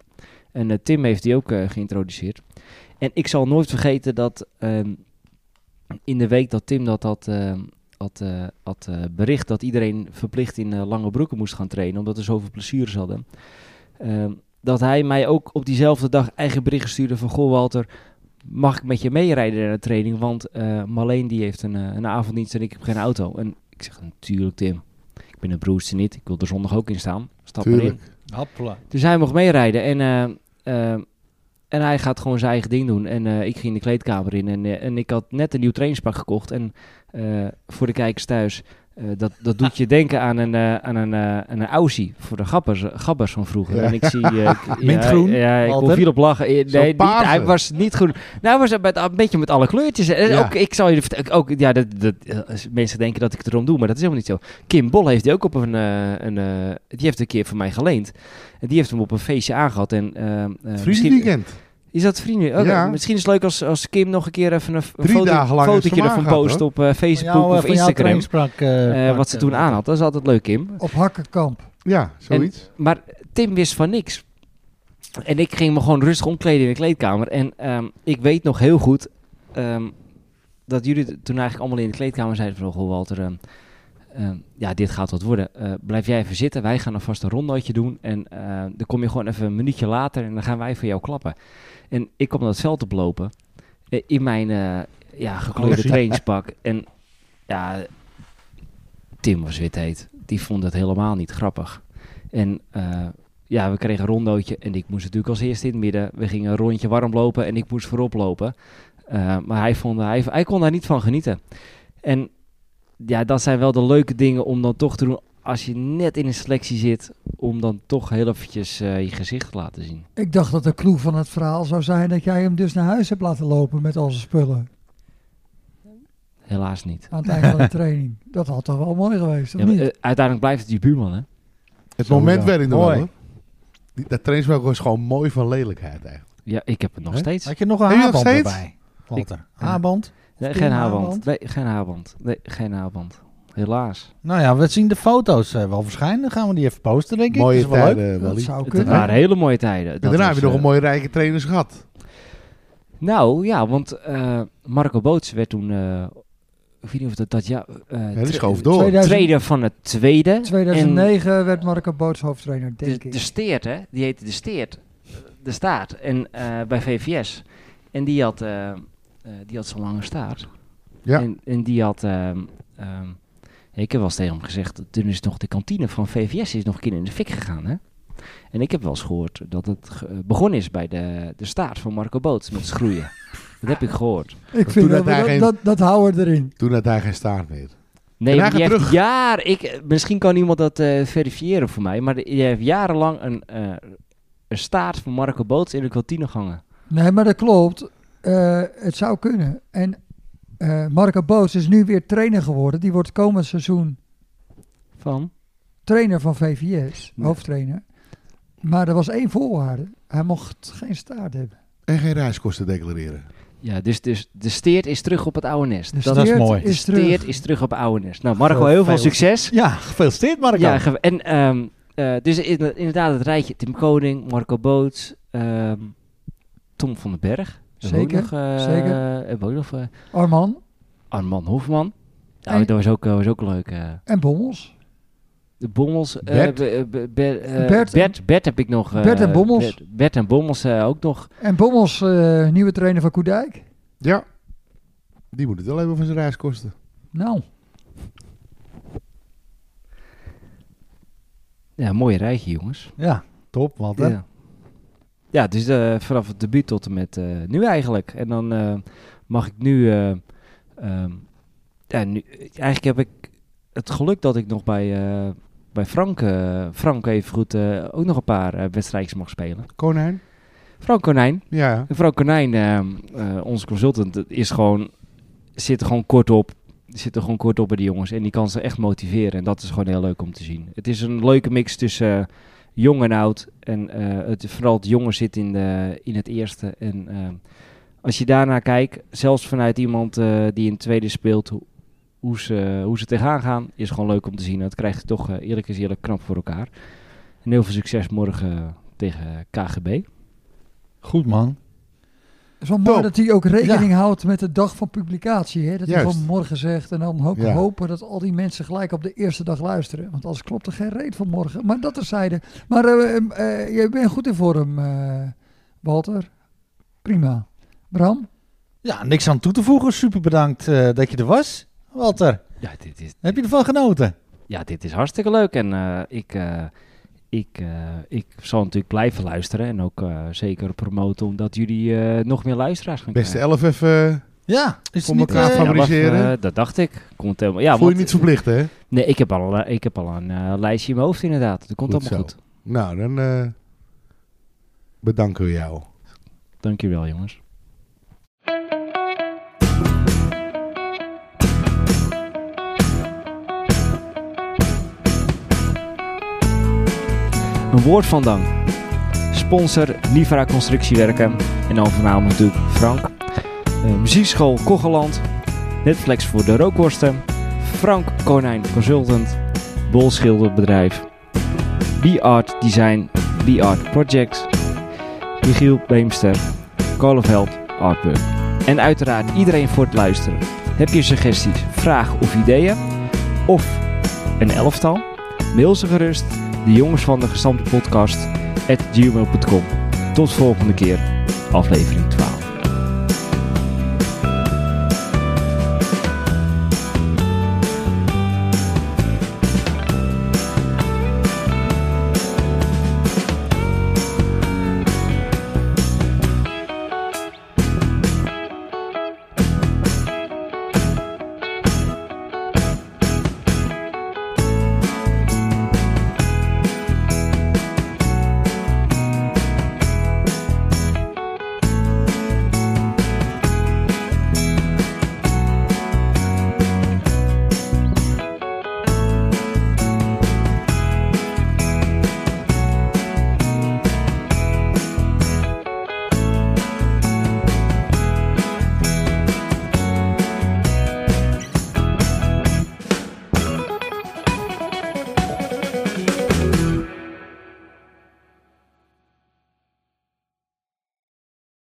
D: En eh, Tim heeft die ook eh, geïntroduceerd. En ik zal nooit vergeten dat ehm, in de week dat Tim dat had, eh, had, eh, had eh, bericht, dat iedereen verplicht in eh, lange broeken moest gaan trainen, omdat er zoveel blessures hadden. Ehm, dat hij mij ook op diezelfde dag eigen bericht stuurde van... Goh Walter, mag ik met je meerijden naar de training? Want eh Marleen die heeft een, eh, een avonddienst en ik heb geen auto. En ik zeg, natuurlijk Tim, ik ben het broerste niet. Ik wil er zondag ook in staan. Stap maar in.
F: tuurlijk.
E: Happla.
D: Dus hij mocht meerijden en, eh, eh, en hij gaat gewoon zijn eigen ding doen. En eh, ik ging de kleedkamer in en, eh, en ik had net een nieuw trainingspak gekocht. En eh, voor de kijkers thuis, eh, dat, dat doet je denken aan een, eh aan een, eh, aan een Aussie voor de gabbers, gabbers van vroeger. En ik zie... eh, ik-
E: Mintgroen,
D: Ja, ja, ik kon
E: Walter.
D: viel op lachen. Eh,
F: Zo
D: Nee, niet,
F: paarse.
D: hij was niet groen. Nou, hij was met, een beetje met alle kleurtjes. En
F: Ja.
D: ook, ik zal je vertellen, ook, ja, dat, dat, eh, mensen denken dat ik het erom doe, maar dat is helemaal niet zo. Kim Bol heeft die ook op een, eh, een eh, die heeft een keer van mij geleend. En die heeft hem op een feestje aangehad. En, ehm, eh, misschien-
F: Vriendenweekend.
D: Is dat vrienden? Oké,
F: Ja.
D: Misschien is het leuk als, als Kim nog een keer even een, f- een
F: Drie
D: foto,
F: dagen lang heeft ze
D: fotootje
F: hem
D: ervan
F: aangehad,
D: post
F: hoor.
D: op eh, Facebook
E: eh,
D: of
E: van jouw
D: Instagram.
E: trainingspak, eh,
D: eh,
E: pak,
D: wat ze
E: eh,
D: toen aan had. Dat is altijd leuk, Kim.
A: Op Hakkenkamp.
F: Ja, zoiets.
D: Maar Tim wist van niks. En ik ging me gewoon rustig omkleden in de kleedkamer. En ehm, ik weet nog heel goed ehm, dat jullie t- toen eigenlijk allemaal in de kleedkamer zeiden van... Goh, Walter, ehm, ehm, ja, dit gaat wat worden. Eh, blijf jij even zitten. Wij gaan alvast een rondootje doen. En eh, dan kom je gewoon even een minuutje later en dan gaan wij voor jou klappen. En ik kwam dat veld oplopen eh, in mijn eh, ja, gekleurde
G: Glosie.
D: trainingspak. En ja, Tim was wit heet. Die vond het helemaal niet grappig. En eh, ja, we kregen een rondootje en ik moest natuurlijk als eerste in het midden. We gingen een rondje warm lopen en ik moest voorop lopen. Eh, maar hij, vond, hij, hij kon daar niet van genieten. En ja, dat zijn wel de leuke dingen om dan toch te doen als je net in een selectie zit. Om dan toch heel eventjes eh, je gezicht te laten zien.
A: Ik dacht dat de clue van het verhaal zou zijn dat jij hem dus naar huis hebt laten lopen met al zijn spullen.
D: Helaas
F: Ah,
D: niet.
A: Aan het einde van de training. Dat had toch wel mooi geweest, of
D: Ja, maar,
A: niet?
D: eh, uiteindelijk blijft het je buurman, hè?
F: Het
G: Zo,
F: moment
G: ja.
F: werd in de
E: Mooi.
F: wel, hoor. Die- Dat trainingswelk was gewoon mooi van lelijkheid eigenlijk.
D: Ja, ik heb het nog
F: Hè?
D: steeds.
E: Had je nog een
F: Heb je nog
E: haarband
F: steeds?
E: erbij, Walter? Haarband?
D: Nee,
E: Tim
D: geen
E: Haarband?
D: haarband. Nee, geen haarband. Nee, geen haarband. Helaas.
E: Nou ja, we zien de foto's eh, wel verschijnen. Dan gaan we die even posten, denk ik.
F: Mooie
E: Dat is wel leuk.
F: tijden,
A: dat
F: Wally.
A: zou
D: Het
A: kunnen.
D: waren hele mooie tijden.
F: En
D: Dat
F: daarna
D: was,
F: heb je nog
D: eh,
F: een mooie rijke trainers gehad.
D: Nou ja, want eh, Marco Boots werd toen. eh, ik weet niet of dat dat ja. eh,
F: die
D: tre-
F: schoof door.
D: tweede-
A: 2000
D: Tweede van het tweede.
A: 2009 werd Marco Boots hoofdtrainer,
D: En
A: denk
D: de,
A: ik.
D: de Steert, hè? Die heette De Steert. De Staart. En eh, bij VVS. En die had, eh, eh, die had zo'n lange staart.
F: Ja.
D: En, en die had. ehm, ehm, ik heb wel eens tegen hem gezegd. Toen is nog de kantine van VVS is nog een keer in de fik gegaan, hè? En ik heb wel eens gehoord dat het ge- begonnen is bij de, de staart van Marco Boots met schroeien. dat heb ik gehoord.
A: Ik
F: toen
A: vind dat,
F: had hij
A: dat,
F: geen-
A: dat, dat houden we erin.
F: Toen had hij geen staart meer.
D: Nee,
F: En
D: maar
F: hij
D: die
F: gaat
D: heeft jaar. Ik, eh, misschien kan iemand dat eh, verifiëren voor mij. Maar je hebt jarenlang een, eh, een staart van Marco Boots in de kantine hangen.
A: Nee, maar dat klopt. Eh, het zou kunnen. En eh, Marco Boots is nu weer trainer geworden. Die wordt komend seizoen
D: Van?
A: trainer van VVS,
D: Ja.
A: hoofdtrainer. Maar er was één voorwaarde. Hij mocht geen staart hebben.
F: En geen reiskosten declareren.
D: Ja, dus, dus de steert is terug op het oude nest.
A: De
D: Dat-
E: is
A: steert
E: mooi.
D: de
A: Dus Is terug.
D: steert Dus is terug op het oude nest. Nou, Marco, heel veel
E: Vervelend.
D: succes.
E: Ja, gefeliciteerd, Marco.
D: Ja, ge- en ehm, eh, dus in- inderdaad het rijtje Tim Koning, Marco Boots, ehm, Tom van den Berg. Hebben we ook
A: Zeker,
D: nog, eh,
A: zeker.
D: Hebben we ook nog eh,
A: Arman
D: Arman Hofman. Nou,
A: En-
D: dat was ook, was ook leuk. eh.
A: en Bommels.
D: De Bommels. eh,
F: Bert?
D: be- be- be- eh,
A: Bert.
D: Bert, Bert, heb ik nog. eh,
A: Bert en Bommels.
D: Bert, Bert en Bommels eh, ook nog.
A: En Bommels, eh, nieuwe trainer van Koedijk.
F: Ja. Die moet het wel hebben van zijn reiskosten.
A: Nou,
D: Ja, mooie rijtje, jongens.
E: Ja, top, Walter.
D: Ja, ja dus eh, vanaf het debuut tot en met eh, nu eigenlijk. En dan eh, mag ik nu, eh, ehm, ja, nu... Eigenlijk heb ik het geluk dat ik nog bij, eh, bij Frank, eh Frank evengoed eh, ook nog een paar eh wedstrijdjes mag spelen.
F: Konijn?
D: Frank Konijn.
F: Ja.
D: Mevrouw Konijn, ehm, eh, onze consultant, dat is gewoon, zit er gewoon kort op. Zit er gewoon kort op bij die jongens. En die kan ze echt motiveren. En dat is gewoon heel leuk om te zien. Het is een leuke mix tussen eh, jong en oud. En eh, het, vooral het jongen zit in, de, in het eerste. En ehm, als je daarnaar kijkt, zelfs vanuit iemand eh, die in het tweede speelt, ho- hoe ze, hoe ze tegenaan gaan, is gewoon leuk om te zien. Dat krijgt toch eh, eerlijk is eerlijk knap voor elkaar. En heel veel succes morgen eh, tegen KGB.
E: Goed, man.
A: het is wel mooi
F: Top.
A: dat hij ook rekening houdt met de dag van publicatie. Hè? Dat hij
F: Juist.
A: van morgen zegt en dan ook
F: Ja.
A: hopen dat al die mensen gelijk op de eerste dag luisteren. Want anders klopt er geen reet van morgen. Maar dat terzijde. Maar eh, eh, je bent goed in vorm, eh, Walter. Prima. Bram?
E: Ja, niks aan toe te voegen. Super bedankt eh, dat je er was, Walter.
D: Ja, dit is,
E: Heb je ervan genoten?
D: ja, dit is hartstikke leuk. En eh, ik, eh, ik, eh, ik zal natuurlijk blijven luisteren. En ook eh, zeker promoten, omdat jullie eh, nog meer luisteraars gaan
F: Beste
D: krijgen.
F: elf even. eh,
E: Ja, is het
F: Kom
E: niet...
F: elkaar
E: eh,
F: van-
D: Ja, wacht,
F: favoriseren.
D: eh, dat dacht ik. Komt helemaal, ja,
F: voel je
D: want-
F: niet verplicht, hè?
D: Nee, ik heb al, eh, ik heb al een eh, lijstje in mijn hoofd inderdaad. Dat komt
F: Goed
D: allemaal
F: zo.
D: goed.
F: Nou, dan eh, bedanken we jou.
D: Dankjewel, jongens. Een woord van dank. Sponsor Nivra Constructiewerken. En dan voornamelijk natuurlijk Frank. Eh, muziekschool Kogeland. Netflix voor de rookworsten. Frank Konijn Consultant. Bol Schilderbedrijf. B-Art Design. B-Art Projects. Michiel Beemster. Kolenveld Artwork. En uiteraard iedereen voor het luisteren. Heb je suggesties, vragen of ideeën? Of een elftal? Mail ze gerust. De jongens van de gestampte podcast at gmail.com. Tot volgende keer, aflevering 12.